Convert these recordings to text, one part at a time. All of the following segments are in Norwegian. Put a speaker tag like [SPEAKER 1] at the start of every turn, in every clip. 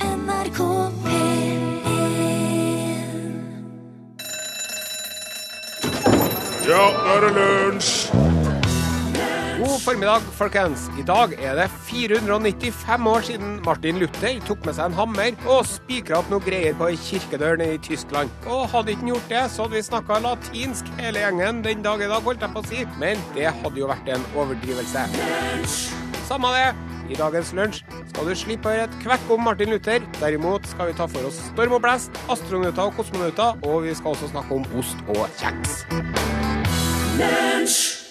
[SPEAKER 1] NRK P1
[SPEAKER 2] Ja, nå er det lunsj!
[SPEAKER 3] God formiddag, folkens. I dag er det 495 år siden Martin Luther tok med seg en hammer og spikra opp noe greier på ei kirkedør nede i Tyskland. Og hadde ikke han gjort det, så hadde vi snakka latinsk hele gjengen den dag i dag, holdt jeg på å si. Men det hadde jo vært en overdrivelse. Samme det. I dagens lunsj skal du slippe å høre et kvekk om Martin Luther. Derimot skal vi ta for oss storm og blest, astronauter og kosmonauter, og vi skal også snakke om ost og kjeks.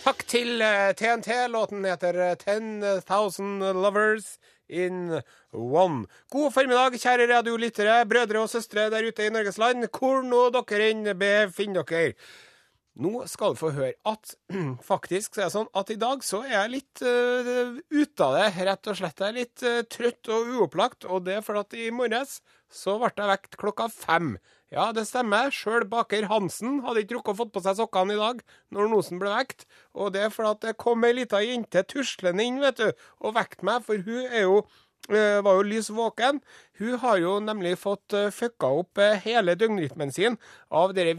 [SPEAKER 3] Takk til eh, TNT. Låten heter eh, 10,000 Lovers in One. God formiddag, kjære radiolyttere, brødre og søstre der ute i Norges land. Hvor nå dere enn befinner dere. Nå skal du få høre at faktisk så er det sånn at i dag så er jeg litt uh, ute av det, rett og slett. Jeg er litt eh, trøtt og uopplagt, og det er fordi at i morges så ble jeg vekt klokka fem. Ja, det stemmer. Sjøl baker Hansen hadde ikke rukket å fått på seg sokkene i dag når Nosen ble vekt, og det er fordi at det kom ei lita jente tuslende inn, vet du, og vekte meg, for hun er jo eh, var jo lys våken. Hun har jo nemlig fått eh, fucka opp eh, hele døgnrytmen sin av dette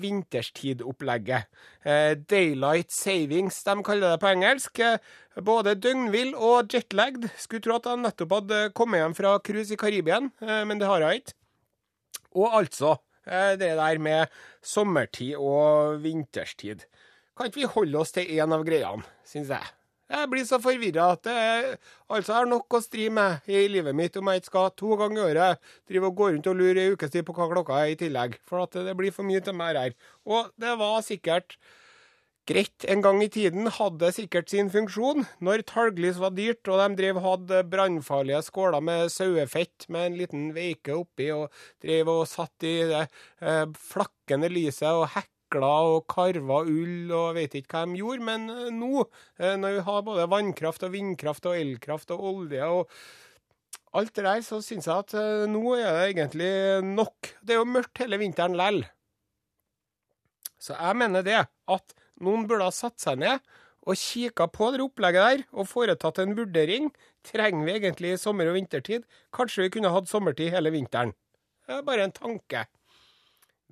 [SPEAKER 3] vinterstidopplegget. Eh, Daylight savings, de kaller det på engelsk. Eh, Både døgnvill og jetlagged. Skulle tro at jeg nettopp hadde kommet hjem fra cruise i Karibien, eh, men det har jeg ikke. Og altså, eh, det der med sommertid og vinterstid. Kan ikke vi holde oss til én av greiene, syns jeg. Jeg blir så forvirra at jeg altså jeg har nok å stri med i livet mitt om jeg ikke skal to ganger i året drive og gå rundt og lure i ukes tid på hva klokka er i tillegg, for at det blir for mye til meg her. Og det var sikkert greit en gang i tiden, hadde sikkert sin funksjon. Når talglys var dyrt, og de drev og hadde brannfarlige skåler med sauefett med en liten veike oppi, og drev og satt i det eh, flakkende lyset og hekla og karva ull og veit ikke hva de gjorde. Men eh, nå, eh, når vi har både vannkraft og vindkraft og elkraft og olje og alt det der, så syns jeg at eh, nå er det egentlig nok. Det er jo mørkt hele vinteren lell. Så jeg mener det, at noen burde ha satt seg ned og kikka på det opplegget der, og foretatt en vurdering. Trenger vi egentlig sommer- og vintertid? Kanskje vi kunne hatt sommertid hele vinteren? Det er bare en tanke.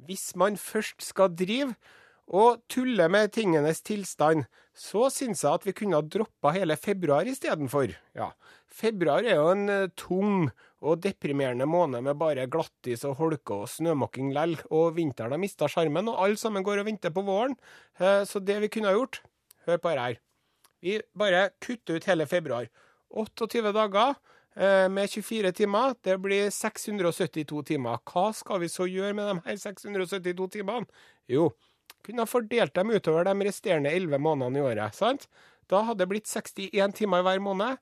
[SPEAKER 3] Hvis man først skal drive og tulle med tingenes tilstand, så syns jeg at vi kunne ha droppa hele februar istedenfor. Ja, februar er jo en eh, tung og deprimerende måned med bare glattis og holke og snømåking lell, og vinteren har mista sjarmen, og alle sammen går og venter på våren. Eh, Så det vi kunne ha gjort Hør på dette her. Vi bare kutter ut hele februar. 28 dager eh, med 24 timer, det blir 672 timer. Hva skal vi så gjøre med de her 672 timene? Jo, kunne ha fordelt dem utover de resterende 11 månedene i året, sant? Da hadde det blitt 61 timer i hver måned.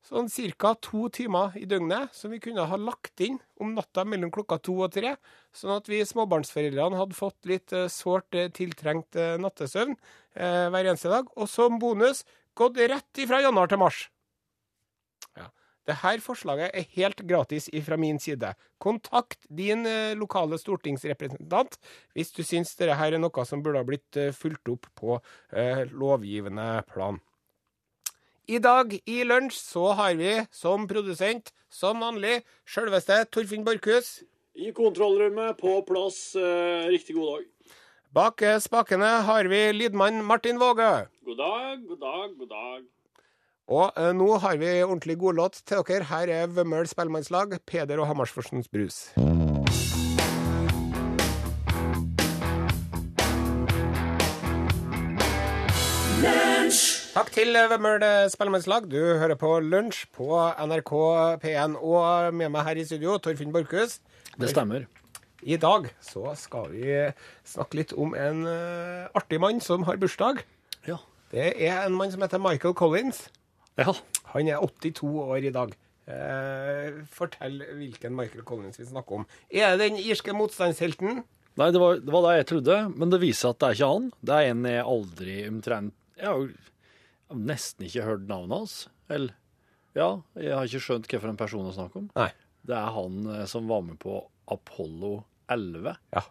[SPEAKER 3] Sånn ca. to timer i døgnet som vi kunne ha lagt inn om natta mellom klokka to og tre, sånn at vi småbarnsforeldrene hadde fått litt eh, sårt eh, tiltrengt eh, nattesøvn eh, hver eneste dag. Og som bonus gått rett ifra januar til mars. Ja. Dette forslaget er helt gratis ifra min side. Kontakt din eh, lokale stortingsrepresentant hvis du syns dette her er noe som burde ha blitt eh, fulgt opp på eh, lovgivende plan. I dag i lunsj så har vi som produsent, som vanlig, sjølveste Torfinn Borchhus.
[SPEAKER 4] I kontrollrommet, på plass. Eh, riktig god dag.
[SPEAKER 3] Bak eh, spakene har vi lydmann Martin Vågø.
[SPEAKER 4] God dag, god dag, god dag.
[SPEAKER 3] Og eh, nå har vi ordentlig god låt til dere. Her er Vømmøl Spellemannslag, Peder og Hammersforsens Brus. Takk til eh, Vømmøl eh, Spellemannslag. Du hører på Lunsj på NRK P1. Og med meg her i studio, Torfinn Borchhus.
[SPEAKER 5] Det stemmer.
[SPEAKER 3] I dag så skal vi snakke litt om en eh, artig mann som har bursdag.
[SPEAKER 5] Ja.
[SPEAKER 3] Det er en mann som heter Michael Collins.
[SPEAKER 5] ja.
[SPEAKER 3] Han er 82 år i dag. Eh, fortell hvilken Michael Collins vi snakker om. Er det den irske motstandshelten?
[SPEAKER 5] Nei, det var, det var det jeg trodde, men det viser seg at det er ikke han. Det er en jeg aldri omtrent Jeg har jo nesten ikke hørt navnet hans. Eller ja, jeg har ikke skjønt hvilken person det er snakk om.
[SPEAKER 3] Nei.
[SPEAKER 5] Det er han eh, som var med på Apollo 11.
[SPEAKER 3] Ja.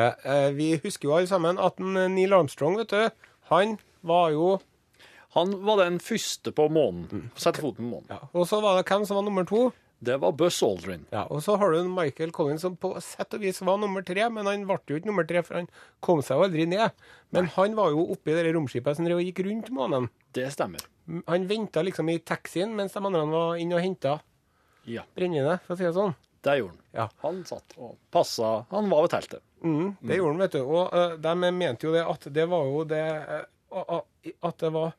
[SPEAKER 3] Eh, eh, vi husker jo alle sammen at en eh, Neil Armstrong, vet du, han var jo
[SPEAKER 5] Han var den første på månen. Sette foten på månen.
[SPEAKER 3] Og så var det hvem som var nummer to?
[SPEAKER 5] Det var Buzz Aldrin.
[SPEAKER 3] Ja, og så har du en Michael Collins som på sett og vis var nummer tre, men han ble jo ikke nummer tre, for han kom seg jo aldri ned. Men han var jo oppi det der romskipet som drev og gikk rundt månen.
[SPEAKER 5] Det stemmer.
[SPEAKER 3] M- Han venta liksom i taxien mens de andre var inne og henta
[SPEAKER 5] Ja,
[SPEAKER 3] brennende, for å si det sånn.
[SPEAKER 5] det gjorde han.
[SPEAKER 3] Ja.
[SPEAKER 5] Han satt og passa. Han var ved teltet.
[SPEAKER 3] Mm, det gjorde de, vet du. Og eh, de mente jo det at det var jo det eh, a- a- At det var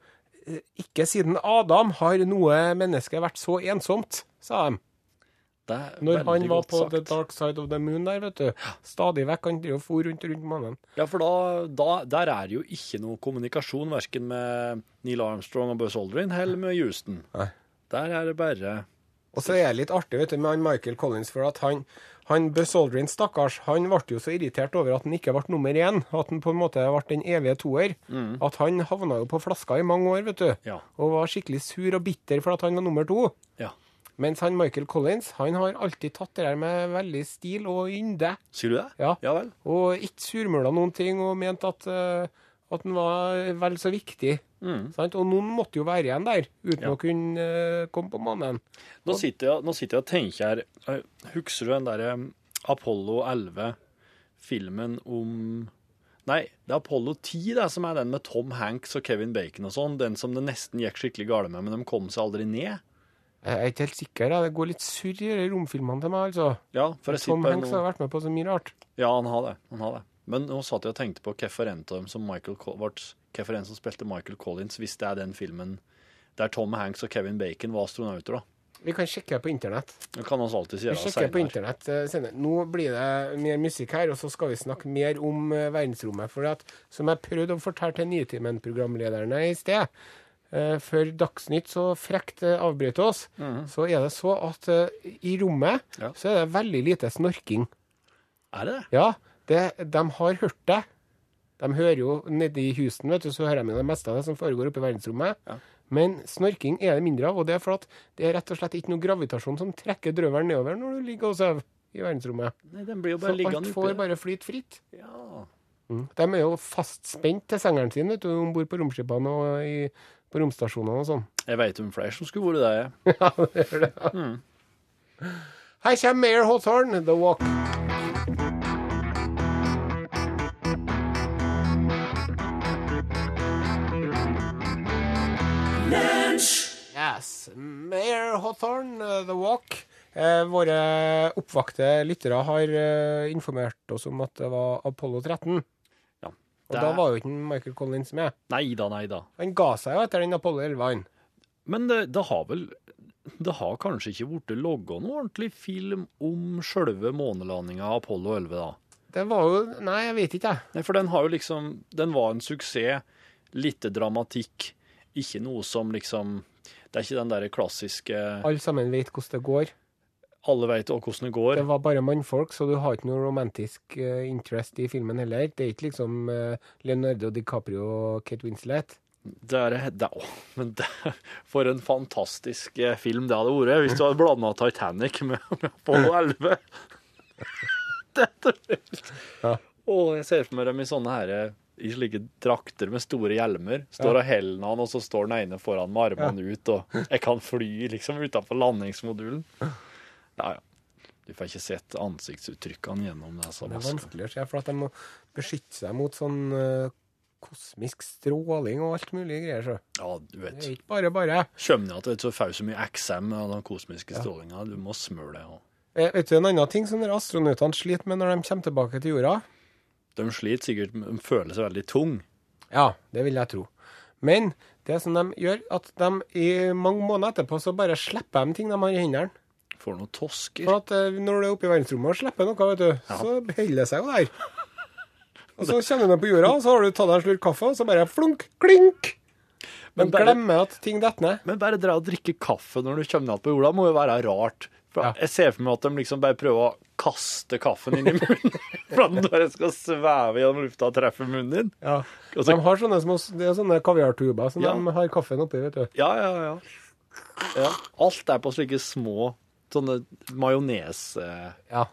[SPEAKER 3] eh, Ikke siden Adam har noe menneske vært så ensomt, sa de.
[SPEAKER 5] Det er
[SPEAKER 3] Når
[SPEAKER 5] veldig
[SPEAKER 3] han var
[SPEAKER 5] godt
[SPEAKER 3] på
[SPEAKER 5] sagt.
[SPEAKER 3] the dark side of the moon der, vet du. Stadig vekk. Han drev og for rundt rundt månen.
[SPEAKER 5] Ja, for da, da, der er jo ikke noe kommunikasjon verken med Neil Armstrong og Buzz Aldrin eller med Houston.
[SPEAKER 3] Nei.
[SPEAKER 5] Der er det bare
[SPEAKER 3] Og så er det litt artig vet du, med han Michael Collins, for at han, han Buzz Aldrin, stakkars, han ble jo så irritert over at han ikke ble nummer én, at han på en måte ble den evige toer, at han havna jo på flaska i mange år, vet du,
[SPEAKER 5] Mm. Ja.
[SPEAKER 3] og var skikkelig sur og bitter for at han var nummer to.
[SPEAKER 5] Ja.
[SPEAKER 3] Mens han Michael Collins, han har alltid tatt det der med veldig stil og ynde,
[SPEAKER 5] Sier du det?
[SPEAKER 3] Ja.
[SPEAKER 5] ja vel.
[SPEAKER 3] og ikke surmula noen ting, og ment at eh, at han var vel så viktig. Sant? Og noen måtte jo være igjen der, uten
[SPEAKER 5] Mm. Ja.
[SPEAKER 3] å kunne eh, komme på månen.
[SPEAKER 5] Nå sitter jeg, nå sitter jeg og tenker her eh, Husker du den derre Apollo 11-filmen om Nei, det er Apollo 10 det, som er den med Tom Hanks og Kevin Bacon og sånn. Den som det nesten gikk skikkelig galt med, men de kom seg aldri ned.
[SPEAKER 3] Jeg er ikke helt sikker. jeg. Det går litt surr i de romfilmene til meg, altså.
[SPEAKER 5] Ja, for jeg sitter
[SPEAKER 3] Tom
[SPEAKER 5] bare
[SPEAKER 3] Hanks
[SPEAKER 5] nå-
[SPEAKER 3] har vært med på så mye rart.
[SPEAKER 5] Ja, han har det. Han har det. Men nå satt jeg og tenkte på hvorfor en av dem som Michael Col- vart- hvorfor en som spilte Michael Collins, hvis det er den filmen der Tom Hanks og Kevin Bacon var astronauter, da.
[SPEAKER 3] Vi kan sjekke på internett.
[SPEAKER 5] Det kan vi alltid si.
[SPEAKER 3] Vi sjekker på internett eh, senere. Nå blir det mer musikk her, og så skal vi snakke mer om eh, verdensrommet. For at, som jeg prøvde å fortelle til Nytimen-programlederne i sted, eh, før Dagsnytt så frekt eh, avbrøt oss,
[SPEAKER 5] Mhm.
[SPEAKER 3] så er det så at eh, i rommet
[SPEAKER 5] Mm. Ja.
[SPEAKER 3] så er det veldig lite snorking.
[SPEAKER 5] Er det det?
[SPEAKER 3] Ja, det, de har hørt det. De hører jo nede i Houston, vet du, så hører de jo det meste av det som foregår oppe i verdensrommet.
[SPEAKER 5] Ja.
[SPEAKER 3] Men snorking er det mindre av, og det er for at det er rett og slett ikke noe gravitasjon som trekker drøvelen nedover når du ligger og sover i verdensrommet.
[SPEAKER 5] Nei, den Mm. blir jo
[SPEAKER 3] Så
[SPEAKER 5] bare
[SPEAKER 3] alt
[SPEAKER 5] liggende
[SPEAKER 3] får
[SPEAKER 5] oppi der.
[SPEAKER 3] bare flyte fritt.
[SPEAKER 5] Ja.
[SPEAKER 3] De er jo fastspent til sengeren sin, vet du, om bord på romskipene og i, på romstasjonene og sånn.
[SPEAKER 5] Jeg veit om flere som skulle vært det.
[SPEAKER 3] Ja, det gjør det. Her kommer Mayor Hawthorne, The Walk. Yes, Mayor Hawthorne, uh, The Walk. Eh, våre oppvakte lyttere har eh, informert oss om at det var Apollo 13.
[SPEAKER 5] Ja.
[SPEAKER 3] Og da var jo ikke Michael Collins med.
[SPEAKER 5] Nei da, nei da.
[SPEAKER 3] Han ga seg jo etter den Apollo 11-en.
[SPEAKER 5] Men det, det har vel Det har kanskje ikke blitt logga noen ordentlig film om sjølve månelandinga av Apollo 11, da?
[SPEAKER 3] Det var jo Nei, jeg vet ikke, jeg.
[SPEAKER 5] Nei, for den har jo liksom Den var en suksess. Lite dramatikk. Ikke noe som liksom Det er ikke den derre klassiske
[SPEAKER 3] Alle sammen vet hvordan det går.
[SPEAKER 5] Alle veit hvordan det
[SPEAKER 3] Det
[SPEAKER 5] går.
[SPEAKER 3] var bare mannfolk, så du har ikke noe romantisk eh, interest i filmen heller. Det er ikke liksom eh, Leonardo DiCaprio og Kate Winslet.
[SPEAKER 5] Det er, det, åh, men det, for en fantastisk eh, film det hadde vært hvis du hadde blanda Titanic med, med Apollo 11. Dette
[SPEAKER 3] Ja.
[SPEAKER 5] Åh, jeg ser for meg dem i sånne her, eh, i slike drakter med store hjelmer. Står og heller han, og så står den ene foran med armene ut, og jeg kan fly liksom utenfor landingsmodulen. Ja, ja. Du får ikke sett ansiktsuttrykkene gjennom det. altså. Så
[SPEAKER 3] Det er vanskelig å se, for at de må beskytte seg mot sånn eh, kosmisk stråling og alt mulig greier. Så.
[SPEAKER 5] ja, du
[SPEAKER 3] Det
[SPEAKER 5] vet.
[SPEAKER 3] er ikke bare bare.
[SPEAKER 5] Skjønner jeg at du ikke får så mye XM av den kosmiske strålinga. Du må smøre det. og...
[SPEAKER 3] Eh, vet du en annen ting som dere astronautene sliter med når de kommer tilbake til jorda?
[SPEAKER 5] De sliter sikkert, med- de føler seg veldig tung.
[SPEAKER 3] Ja, det vil jeg tro. Men det som de gjør, at de i mange måneder etterpå så bare slipper de ting de har i hendene.
[SPEAKER 5] Får noen tosker.
[SPEAKER 3] For at eh, når du er oppe i verdensrommet og slipper noe, vet du, så holder det seg jo der. Og så kjenner du det på jorda, og så har du tatt deg en slurk kaffe, og så bare flunk, klink! Men
[SPEAKER 5] Men bare-
[SPEAKER 3] glemmer at ting detter ned.
[SPEAKER 5] Men bare dra og drikke kaffe når du kommer ned på jorda, må jo være rart. For
[SPEAKER 3] Ja.
[SPEAKER 5] Jeg ser for meg at de liksom bare prøver å kaste kaffen inn i munnen. For at den bare skal sveve gjennom lufta og treffe munnen din. Og
[SPEAKER 3] De
[SPEAKER 5] så,
[SPEAKER 3] har sånne, små, det er sånne kaviartuber som
[SPEAKER 5] Ja.
[SPEAKER 3] de har kaffen oppi, vet du.
[SPEAKER 5] ja, ja, ja, ja. Alt er på slike små sånne majonesplast.
[SPEAKER 3] Ja.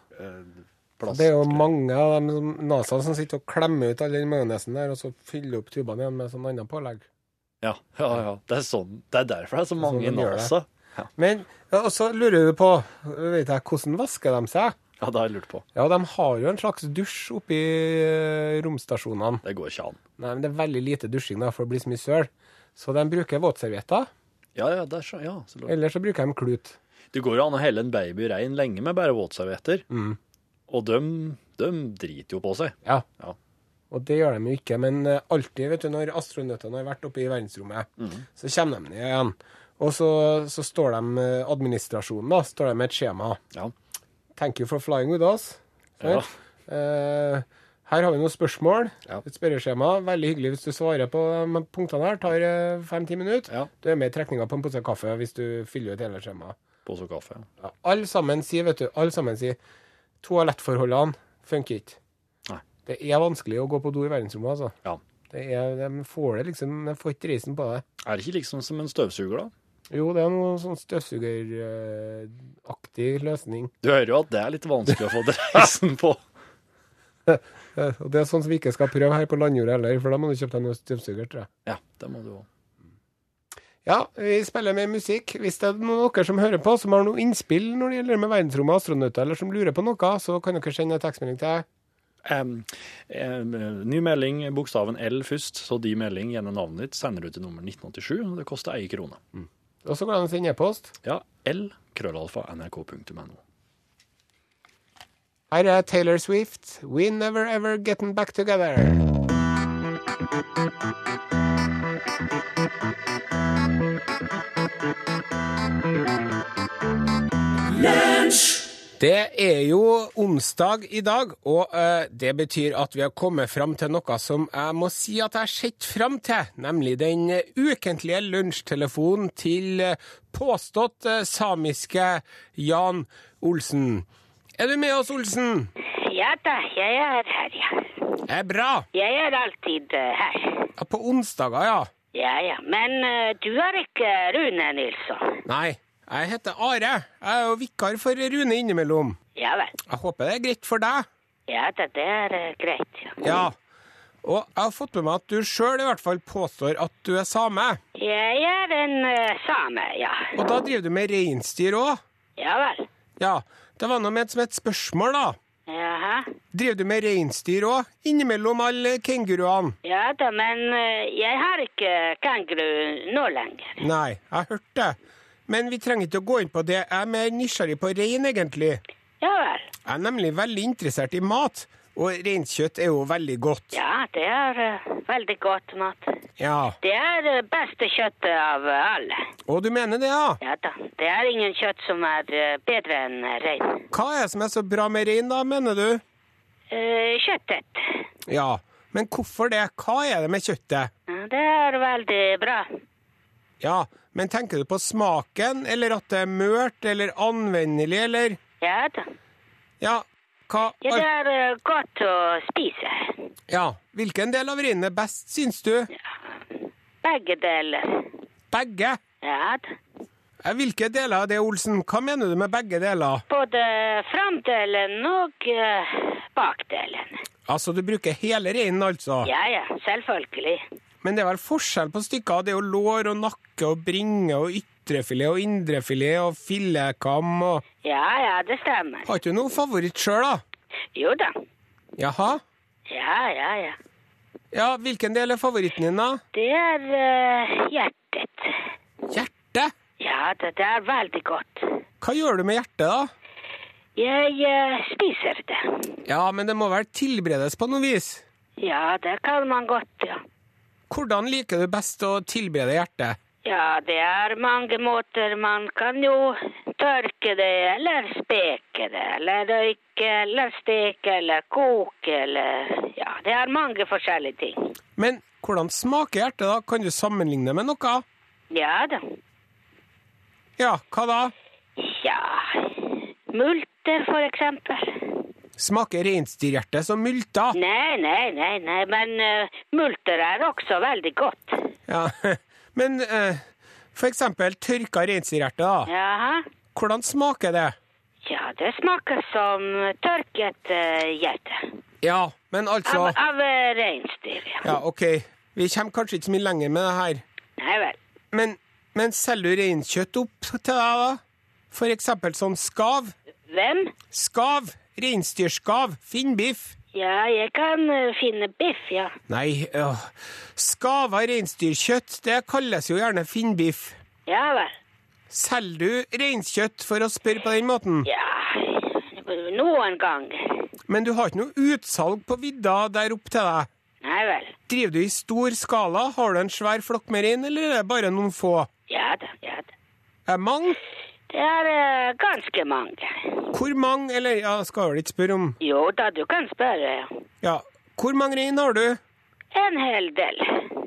[SPEAKER 3] Det er jo mange av dem som NASA som sitter og klemmer ut all den majonesen der, og så fyller opp tubene igjen med sånn annet pålegg.
[SPEAKER 5] Ja, ja, ja. Det er, sånn, det er derfor det er så mange
[SPEAKER 3] de gjør det.
[SPEAKER 5] NASA.
[SPEAKER 3] Men, ja, og så lurer du på, vet jeg, hvordan vasker de seg?
[SPEAKER 5] Ja, det har jeg lurt på.
[SPEAKER 3] Ja, de har jo en slags dusj oppi eh, romstasjonene.
[SPEAKER 5] Det går ikke an.
[SPEAKER 3] Nei, men det er veldig lite dusjing da, for det blir så mye søl. Så de bruker våtservietter,
[SPEAKER 5] Ja, ja, det er så, ja, så lurt.
[SPEAKER 3] eller så bruker de klut.
[SPEAKER 5] Det går jo an å helle en baby rein lenge med bare våtservietter. Og de, driter jo på seg.
[SPEAKER 3] Ja.
[SPEAKER 5] Ja.
[SPEAKER 3] Og det gjør de jo ikke, men eh, alltid, vet du, når astronautene har vært oppe i verdensrommet,
[SPEAKER 5] Mm.
[SPEAKER 3] så kommer de ned igjen. Og så, så står de, eh, administrasjonen da, står de med et skjema.
[SPEAKER 5] Ja.
[SPEAKER 3] Thank you for flying with us.
[SPEAKER 5] Ja.
[SPEAKER 3] Eh, her har vi noen spørsmål.
[SPEAKER 5] Ja.
[SPEAKER 3] Et spørreskjema. Veldig hyggelig hvis du svarer på de punktene her. Tar fem-ti minutter.
[SPEAKER 5] Ja.
[SPEAKER 3] Du er med i trekninga på en pose kaffe hvis du fyller ut hele skjemaet.
[SPEAKER 5] Pose og kaffe.
[SPEAKER 3] Ja, alle sammen sier, vet du, alle sammen sier toalettforholdene funker ikke.
[SPEAKER 5] Nei.
[SPEAKER 3] Det er vanskelig å gå på do i verdensrommet, altså.
[SPEAKER 5] Ja.
[SPEAKER 3] Det er, de får det liksom, de får ikke reisen på det.
[SPEAKER 5] Er det ikke liksom som en støvsuger, da?
[SPEAKER 3] Jo, det er noe sånn støvsugeraktig løsning.
[SPEAKER 5] Du hører jo at det er litt vanskelig å få dreisen på.
[SPEAKER 3] Eh, Og det er sånn som vi ikke skal prøve her på landjorda heller, for da må du kjøpe deg noe støvsuger, tror jeg.
[SPEAKER 5] Ja, det må du òg.
[SPEAKER 3] Ja, vi spiller med musikk. Hvis det er noen av dere som hører på, som har noe innspill når det gjelder med verdensrommet og astronauter, eller som lurer på noe, så kan dere sende en tekstmelding til
[SPEAKER 5] Em, em, ny melding, bokstaven L først, så de melding gjennom navnet ditt sender du til nummer 1987, og det koster ei krone.
[SPEAKER 3] Og så går det an å sende e-post.
[SPEAKER 5] Ja, L, krøllalfa, nrk.no.
[SPEAKER 3] Her er Taylor Swift, We Never Ever Getting Back Together. Det er jo onsdag i dag, og eh, det betyr at vi har kommet fram til noe som jeg må si at jeg har sett fram til, nemlig den eh, ukentlige lunsjtelefonen til eh, påstått eh, samiske Jan Olsen. Er du med oss, Olsen?
[SPEAKER 6] Ja da, jeg er her, ja.
[SPEAKER 3] Det er bra.
[SPEAKER 6] Jeg er alltid eh, her.
[SPEAKER 3] Ja, På onsdager, ja.
[SPEAKER 6] Ja, ja. Men eh, du er ikke Rune Nilsson.
[SPEAKER 3] Nei, jeg heter Are. Jeg er jo vikar for Rune innimellom.
[SPEAKER 6] Ja vel.
[SPEAKER 3] Jeg håper det er greit for deg.
[SPEAKER 6] Ja da, det er eh, greit, ja.
[SPEAKER 3] Ja. Og jeg har fått med meg at du sjøl i hvert fall påstår at du er same.
[SPEAKER 6] Jeg er en eh, same, ja.
[SPEAKER 3] Og da driver du med reinsdyr òg?
[SPEAKER 6] Ja vel.
[SPEAKER 3] Ja. Det var noe med et som et spørsmål, da.
[SPEAKER 6] Jaha.
[SPEAKER 3] Driver du med reinsdyr òg? Innimellom alle kenguruene?
[SPEAKER 6] Ja da, men eh, jeg har ikke kenguru nå lenger.
[SPEAKER 3] Nei, jeg hørte det. Men vi trenger ikke å gå inn på det. Jeg er mer nysgjerrig på rein, egentlig.
[SPEAKER 6] Ja vel.
[SPEAKER 3] Jeg er nemlig veldig interessert i mat, og reinkjøtt er jo veldig godt.
[SPEAKER 6] Ja, det er eh, veldig godt mat.
[SPEAKER 3] Ja.
[SPEAKER 6] Det er det beste kjøttet av eh, alle.
[SPEAKER 3] Og du mener det, ja?
[SPEAKER 6] Ja da, det er ingen kjøtt som er eh, bedre enn eh, rein.
[SPEAKER 3] Hva er det som er så bra med rein, da, mener du?
[SPEAKER 6] Eh, Kjøttet.
[SPEAKER 3] Ja, men hvorfor det? Hva er det med kjøttet?
[SPEAKER 6] Ja, Det er veldig bra.
[SPEAKER 3] Ja, men tenker du på smaken, eller at det er mørt, eller anvendelig, eller
[SPEAKER 6] Ja da.
[SPEAKER 3] Ja, hva
[SPEAKER 6] Ja, det er eh, godt å spise.
[SPEAKER 3] Ja, hvilken del av reinen er best, syns du?
[SPEAKER 6] Begge deler.
[SPEAKER 3] Begge?
[SPEAKER 6] Ja da.
[SPEAKER 3] Ja, Hvilke deler er det, Olsen? Hva mener du med begge deler?
[SPEAKER 6] Både framdelen og eh, bakdelen.
[SPEAKER 3] Altså, du bruker hele reinen, altså?
[SPEAKER 6] Ja ja, selvfølgelig.
[SPEAKER 3] Men det er vel forskjell på stykker? Det er jo lår og nakke og bringe og ytrefilet og indrefilet og fillekam og
[SPEAKER 6] Ja ja, det stemmer.
[SPEAKER 3] Har ikke du noe favoritt sjøl, da?
[SPEAKER 6] Jo da.
[SPEAKER 3] Jaha?
[SPEAKER 6] Ja ja ja.
[SPEAKER 3] Ja, hvilken del er favoritten din, da?
[SPEAKER 6] Det er eh, hjertet.
[SPEAKER 3] Hjertet?
[SPEAKER 6] Ja da, det er veldig godt.
[SPEAKER 3] Hva gjør du med hjertet, da?
[SPEAKER 6] Jeg eh, spiser det.
[SPEAKER 3] Ja, men det må vel tilberedes på noe vis?
[SPEAKER 6] Ja, det kan man godt, ja.
[SPEAKER 3] Hvordan liker du best å tilberede hjertet?
[SPEAKER 6] Ja, det er mange måter. Man kan jo tørke det, eller steke det, eller røyke, eller steke, eller koke, eller Ja, det er mange forskjellige ting.
[SPEAKER 3] Men hvordan smaker hjertet, da? Kan du sammenligne med noe?
[SPEAKER 6] Ja da.
[SPEAKER 3] Ja, hva da?
[SPEAKER 6] Ja Multer, for eksempel.
[SPEAKER 3] Smaker reinsdyrhjertet som multer?
[SPEAKER 6] Nei, nei, nei, nei, men eh, multer er også veldig godt.
[SPEAKER 3] Ja, men eh, for eksempel tørka reinsdyrhjerte, da.
[SPEAKER 6] Jaha.
[SPEAKER 3] Hvordan smaker det?
[SPEAKER 6] Ja, det smaker som tørket eh, hjerte.
[SPEAKER 3] Ja, men altså
[SPEAKER 6] Av, av eh, reinsdyr, ja.
[SPEAKER 3] Ja, OK, vi kommer kanskje ikke så mye lenger med det her.
[SPEAKER 6] Nei vel.
[SPEAKER 3] Men Men selger du reinkjøtt opp til deg, da? For eksempel sånn skav?
[SPEAKER 6] Hvem?
[SPEAKER 3] Skav! Reinsdyrskav! Finnbiff!
[SPEAKER 6] Ja, jeg kan eh, finne biff, ja.
[SPEAKER 3] Nei, øh. skava reinsdyrkjøtt, det kalles jo gjerne finnbiff.
[SPEAKER 6] Ja vel.
[SPEAKER 3] Selger du reinkjøtt for å spørre på den måten?
[SPEAKER 6] Ja, noen gang.
[SPEAKER 3] Men du har ikke noe utsalg på vidda der opp til deg?
[SPEAKER 6] Nei vel.
[SPEAKER 3] Driver du i stor skala? Har du en svær flokk med rein, eller er det bare noen få?
[SPEAKER 6] Ja da, ja da.
[SPEAKER 3] Er det mange?
[SPEAKER 6] Det er eh, ganske mange.
[SPEAKER 3] Hvor mange, eller ja, skal vel ikke spørre om
[SPEAKER 6] Jo da, du kan spørre. ja.
[SPEAKER 3] Ja, hvor mange rein har du?
[SPEAKER 6] En hel del.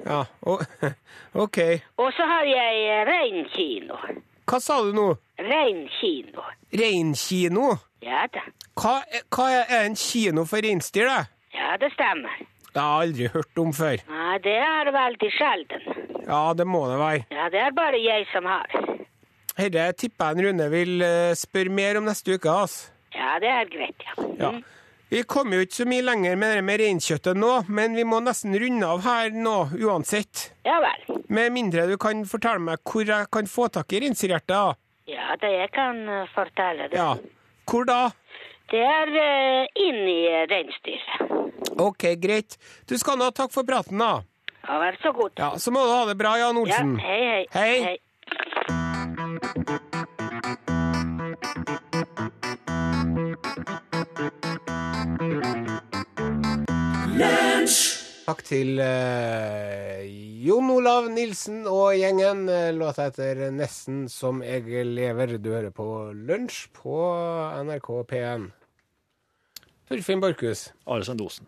[SPEAKER 3] Ja, å, OK.
[SPEAKER 6] Og så har jeg eh, reinkino.
[SPEAKER 3] Hva sa du nå?
[SPEAKER 6] Reinkino.
[SPEAKER 3] Reinkino?
[SPEAKER 6] Ja da.
[SPEAKER 3] Hva, er- hva er er en kino for reinsdyr, det?
[SPEAKER 6] Ja, det stemmer.
[SPEAKER 3] Det har jeg aldri hørt om før.
[SPEAKER 6] Ja, det er veldig sjelden.
[SPEAKER 3] Ja, det må det være.
[SPEAKER 6] Ja, det er bare jeg som har.
[SPEAKER 3] Herre tipper jeg en Rune vil eh, spørre mer om neste uke, altså.
[SPEAKER 6] Ja, det er greit, ja.
[SPEAKER 3] Ja. Vi kom jo ikke så mye lenger med det med reinkjøttet nå, men vi må nesten runde av her nå, uansett.
[SPEAKER 6] Ja vel.
[SPEAKER 3] Med mindre du kan fortelle meg hvor jeg kan få tak i reinsdyrhjertet, da.
[SPEAKER 6] Ja, det jeg kan eh, fortelle det.
[SPEAKER 3] Ja. Hvor da?
[SPEAKER 6] Det er eh, inni eh, reinsdyret.
[SPEAKER 3] OK, greit. Du skal nå ha takk for praten, da.
[SPEAKER 6] Ja, vær så god.
[SPEAKER 3] Ja, Så må du ha det bra, Jan
[SPEAKER 6] Ja,
[SPEAKER 3] Olsen.
[SPEAKER 6] hei, hei.
[SPEAKER 3] Hei. Takk til eh, Jon Olav Nilsen og gjengen. Eh, Låta heter 'Nesten som jeg lever'. Du hører på Lunsj på NRK P1. Torfinn Borchhus,
[SPEAKER 5] Are Sendosen.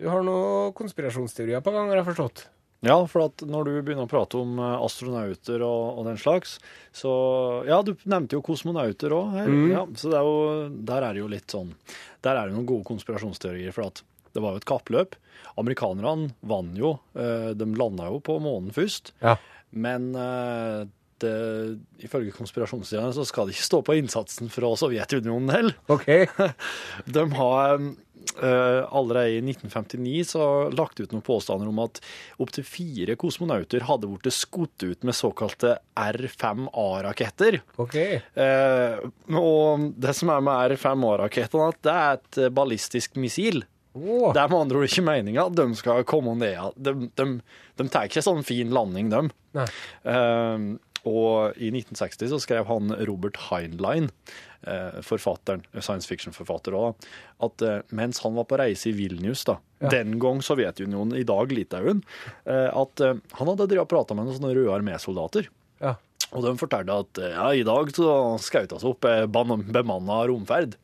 [SPEAKER 3] du har noen konspirasjonsteorier på gang, har jeg forstått?
[SPEAKER 5] Ja, for at når du begynner å prate om eh, astronauter og, og den slags, så Ja, du nevnte jo kosmonauter òg her. Ja, så det er jo, der er det jo litt sånn Der er det noen gode konspirasjonsteorier, for at det var jo et kappløp. Amerikanerne vant jo. eh, De landa jo på månen først.
[SPEAKER 3] Ja.
[SPEAKER 5] Men eh, det, ifølge konspirasjonsteoriene så skal det ikke stå på innsatsen fra Sovjetunionen heller.
[SPEAKER 3] OK.
[SPEAKER 5] De har eh, allerede i 1959 så lagt ut noen påstander om at opptil fire kosmonauter hadde blitt skutt ut med såkalte R5A-raketter.
[SPEAKER 3] ok.
[SPEAKER 5] Eh, og det som er med R5A-rakettene, at det er et ballistisk missil.
[SPEAKER 3] Åh,
[SPEAKER 5] Det er med andre ord ikke meninga at de skal komme ned. ja. De, de, de tar ikke sånn fin landing, de.
[SPEAKER 3] Nei.
[SPEAKER 5] Eh, og i 1960 så skrev han Robert Heinlein, eh, forfatteren, science fiction-forfatter òg, at eh, mens han var på reise i Vilnius, da, den gang Sovjetunionen, i dag Litauen, eh, at eh, han hadde drevet og prata med noen sånne Røde armé-soldater.
[SPEAKER 3] ja.
[SPEAKER 5] Og de fortalte at eh, ja, i dag så skjøt oss opp eh, ban- bemanna romferd.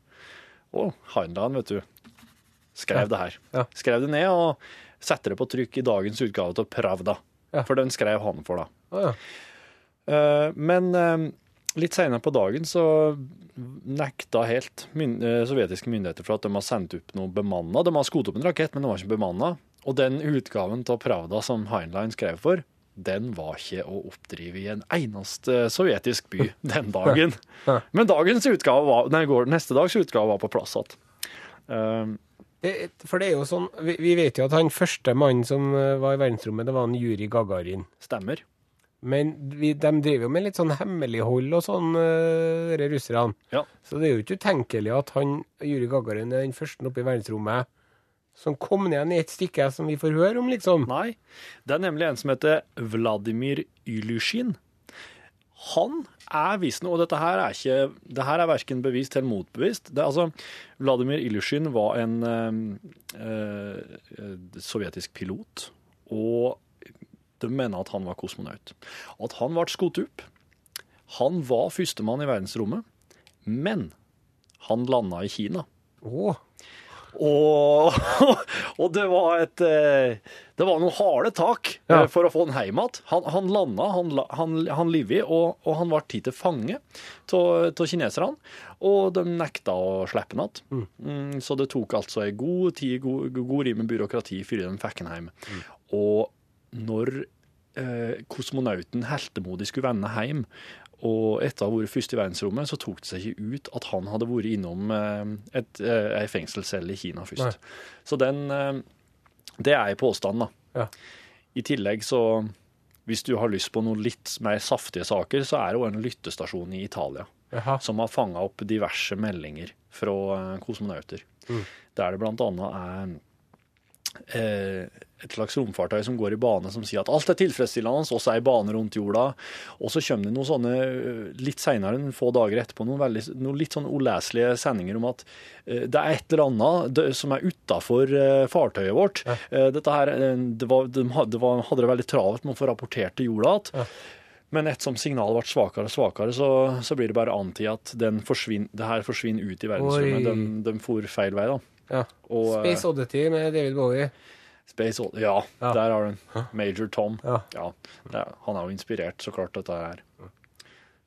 [SPEAKER 5] Og Heinlein, vet du, skrev det her.
[SPEAKER 3] Ja.
[SPEAKER 5] Skrev det ned og satte det på trykk i dagens utgave av Pravda.
[SPEAKER 3] Ja.
[SPEAKER 5] For den skrev han for, da.
[SPEAKER 3] Å, ja.
[SPEAKER 5] Eh, Men eh, litt senere på dagen så nekta helt myn eh, sovjetiske myndigheter for at de har sendt opp noe bemanna. De har skutt opp en rakett, men den var ikke bemanna. Og den utgaven av Pravda som Heinlein skrev for, den var ikke å oppdrive i en eneste sovjetisk by den dagen. Men dagens utgave var, nei, går- neste dags utgave var på plass igjen. Eh,
[SPEAKER 3] Det, for det er jo sånn, vi, vi vet jo at han første mannen som eh, var i verdensrommet, det var en Juri Gagarin.
[SPEAKER 5] stemmer.
[SPEAKER 3] Men vi, de driver jo med litt sånn hemmelighold og sånn, eh, dere russerne.
[SPEAKER 5] Ja.
[SPEAKER 3] Så det er jo ikke utenkelig at han, Juri Gagarin er den første oppe i verdensrommet som kom ned i et stykke som vi får høre om, liksom.
[SPEAKER 5] Nei, det er nemlig en som heter Vladimir Ilyushin. Han er visstnok, og dette her er ikke det her er verken bevist eller motbevist det, er altså, Vladimir Ilyushin var en eh, eh, sovjetisk pilot, og de mener at han var kosmonaut. At han ble skutt opp. Han var førstemann i verdensrommet, men han landa i Kina.
[SPEAKER 3] Å,
[SPEAKER 5] Og, og det var et eh, Det var noen harde tak eh,
[SPEAKER 3] Ja.
[SPEAKER 5] for å få han hjem igjen. Han, han landa, han, la- han, han livet, og, og han ble tatt til fange av kineserne. Og de nekta å slippe han igjen. Mm, så det tok altså ei god tid, god, god rim med byråkrati, før de fikk han hjem. Og når eh, kosmonauten heltemodig skulle vende hjem, og etter å ha vært først i verdensrommet, så tok det seg ikke ut at han hadde vært innom eh, et, eh, ei fengselscelle i Kina først. Så den eh, Det er ei påstand, da.
[SPEAKER 3] Ja.
[SPEAKER 5] I tillegg så Hvis du har lyst på noen litt mer saftige saker, så er det jo en lyttestasjon i Italia
[SPEAKER 3] Jaha.
[SPEAKER 5] som har fanga opp diverse meldinger fra eh, kosmonauter. Der det blant annet er eh, et slags romfartøy som går i bane som sier at alt er tilfredsstillende, oss er i bane rundt jorda. Og så kommer det noen sånne eh, litt seinere, få dager etterpå, noen, veldig, noen litt sånn uleselige sendinger om at eh, det er et eller annet dø- som er utafor fartøyet vårt. Eh, Dette her, eh, det var, de hadde, det var, hadde det veldig travelt med å få rapportert til jorda igjen. Men ettersom signalet ble svakere og svakere, så, så blir det bare antydet at den forsvinn- det her forsvinner ut i
[SPEAKER 3] Oi.
[SPEAKER 5] verdensrommet. De, de for feil vei, da.
[SPEAKER 3] Ja.
[SPEAKER 5] Og, eh,
[SPEAKER 3] Space Oddity med David Bowie.
[SPEAKER 5] Space Oddity. Ja,
[SPEAKER 3] Ja.
[SPEAKER 5] der har du den. Major Tom.
[SPEAKER 3] Ja.
[SPEAKER 5] Ja. det er, han er jo inspirert, så klart, dette her.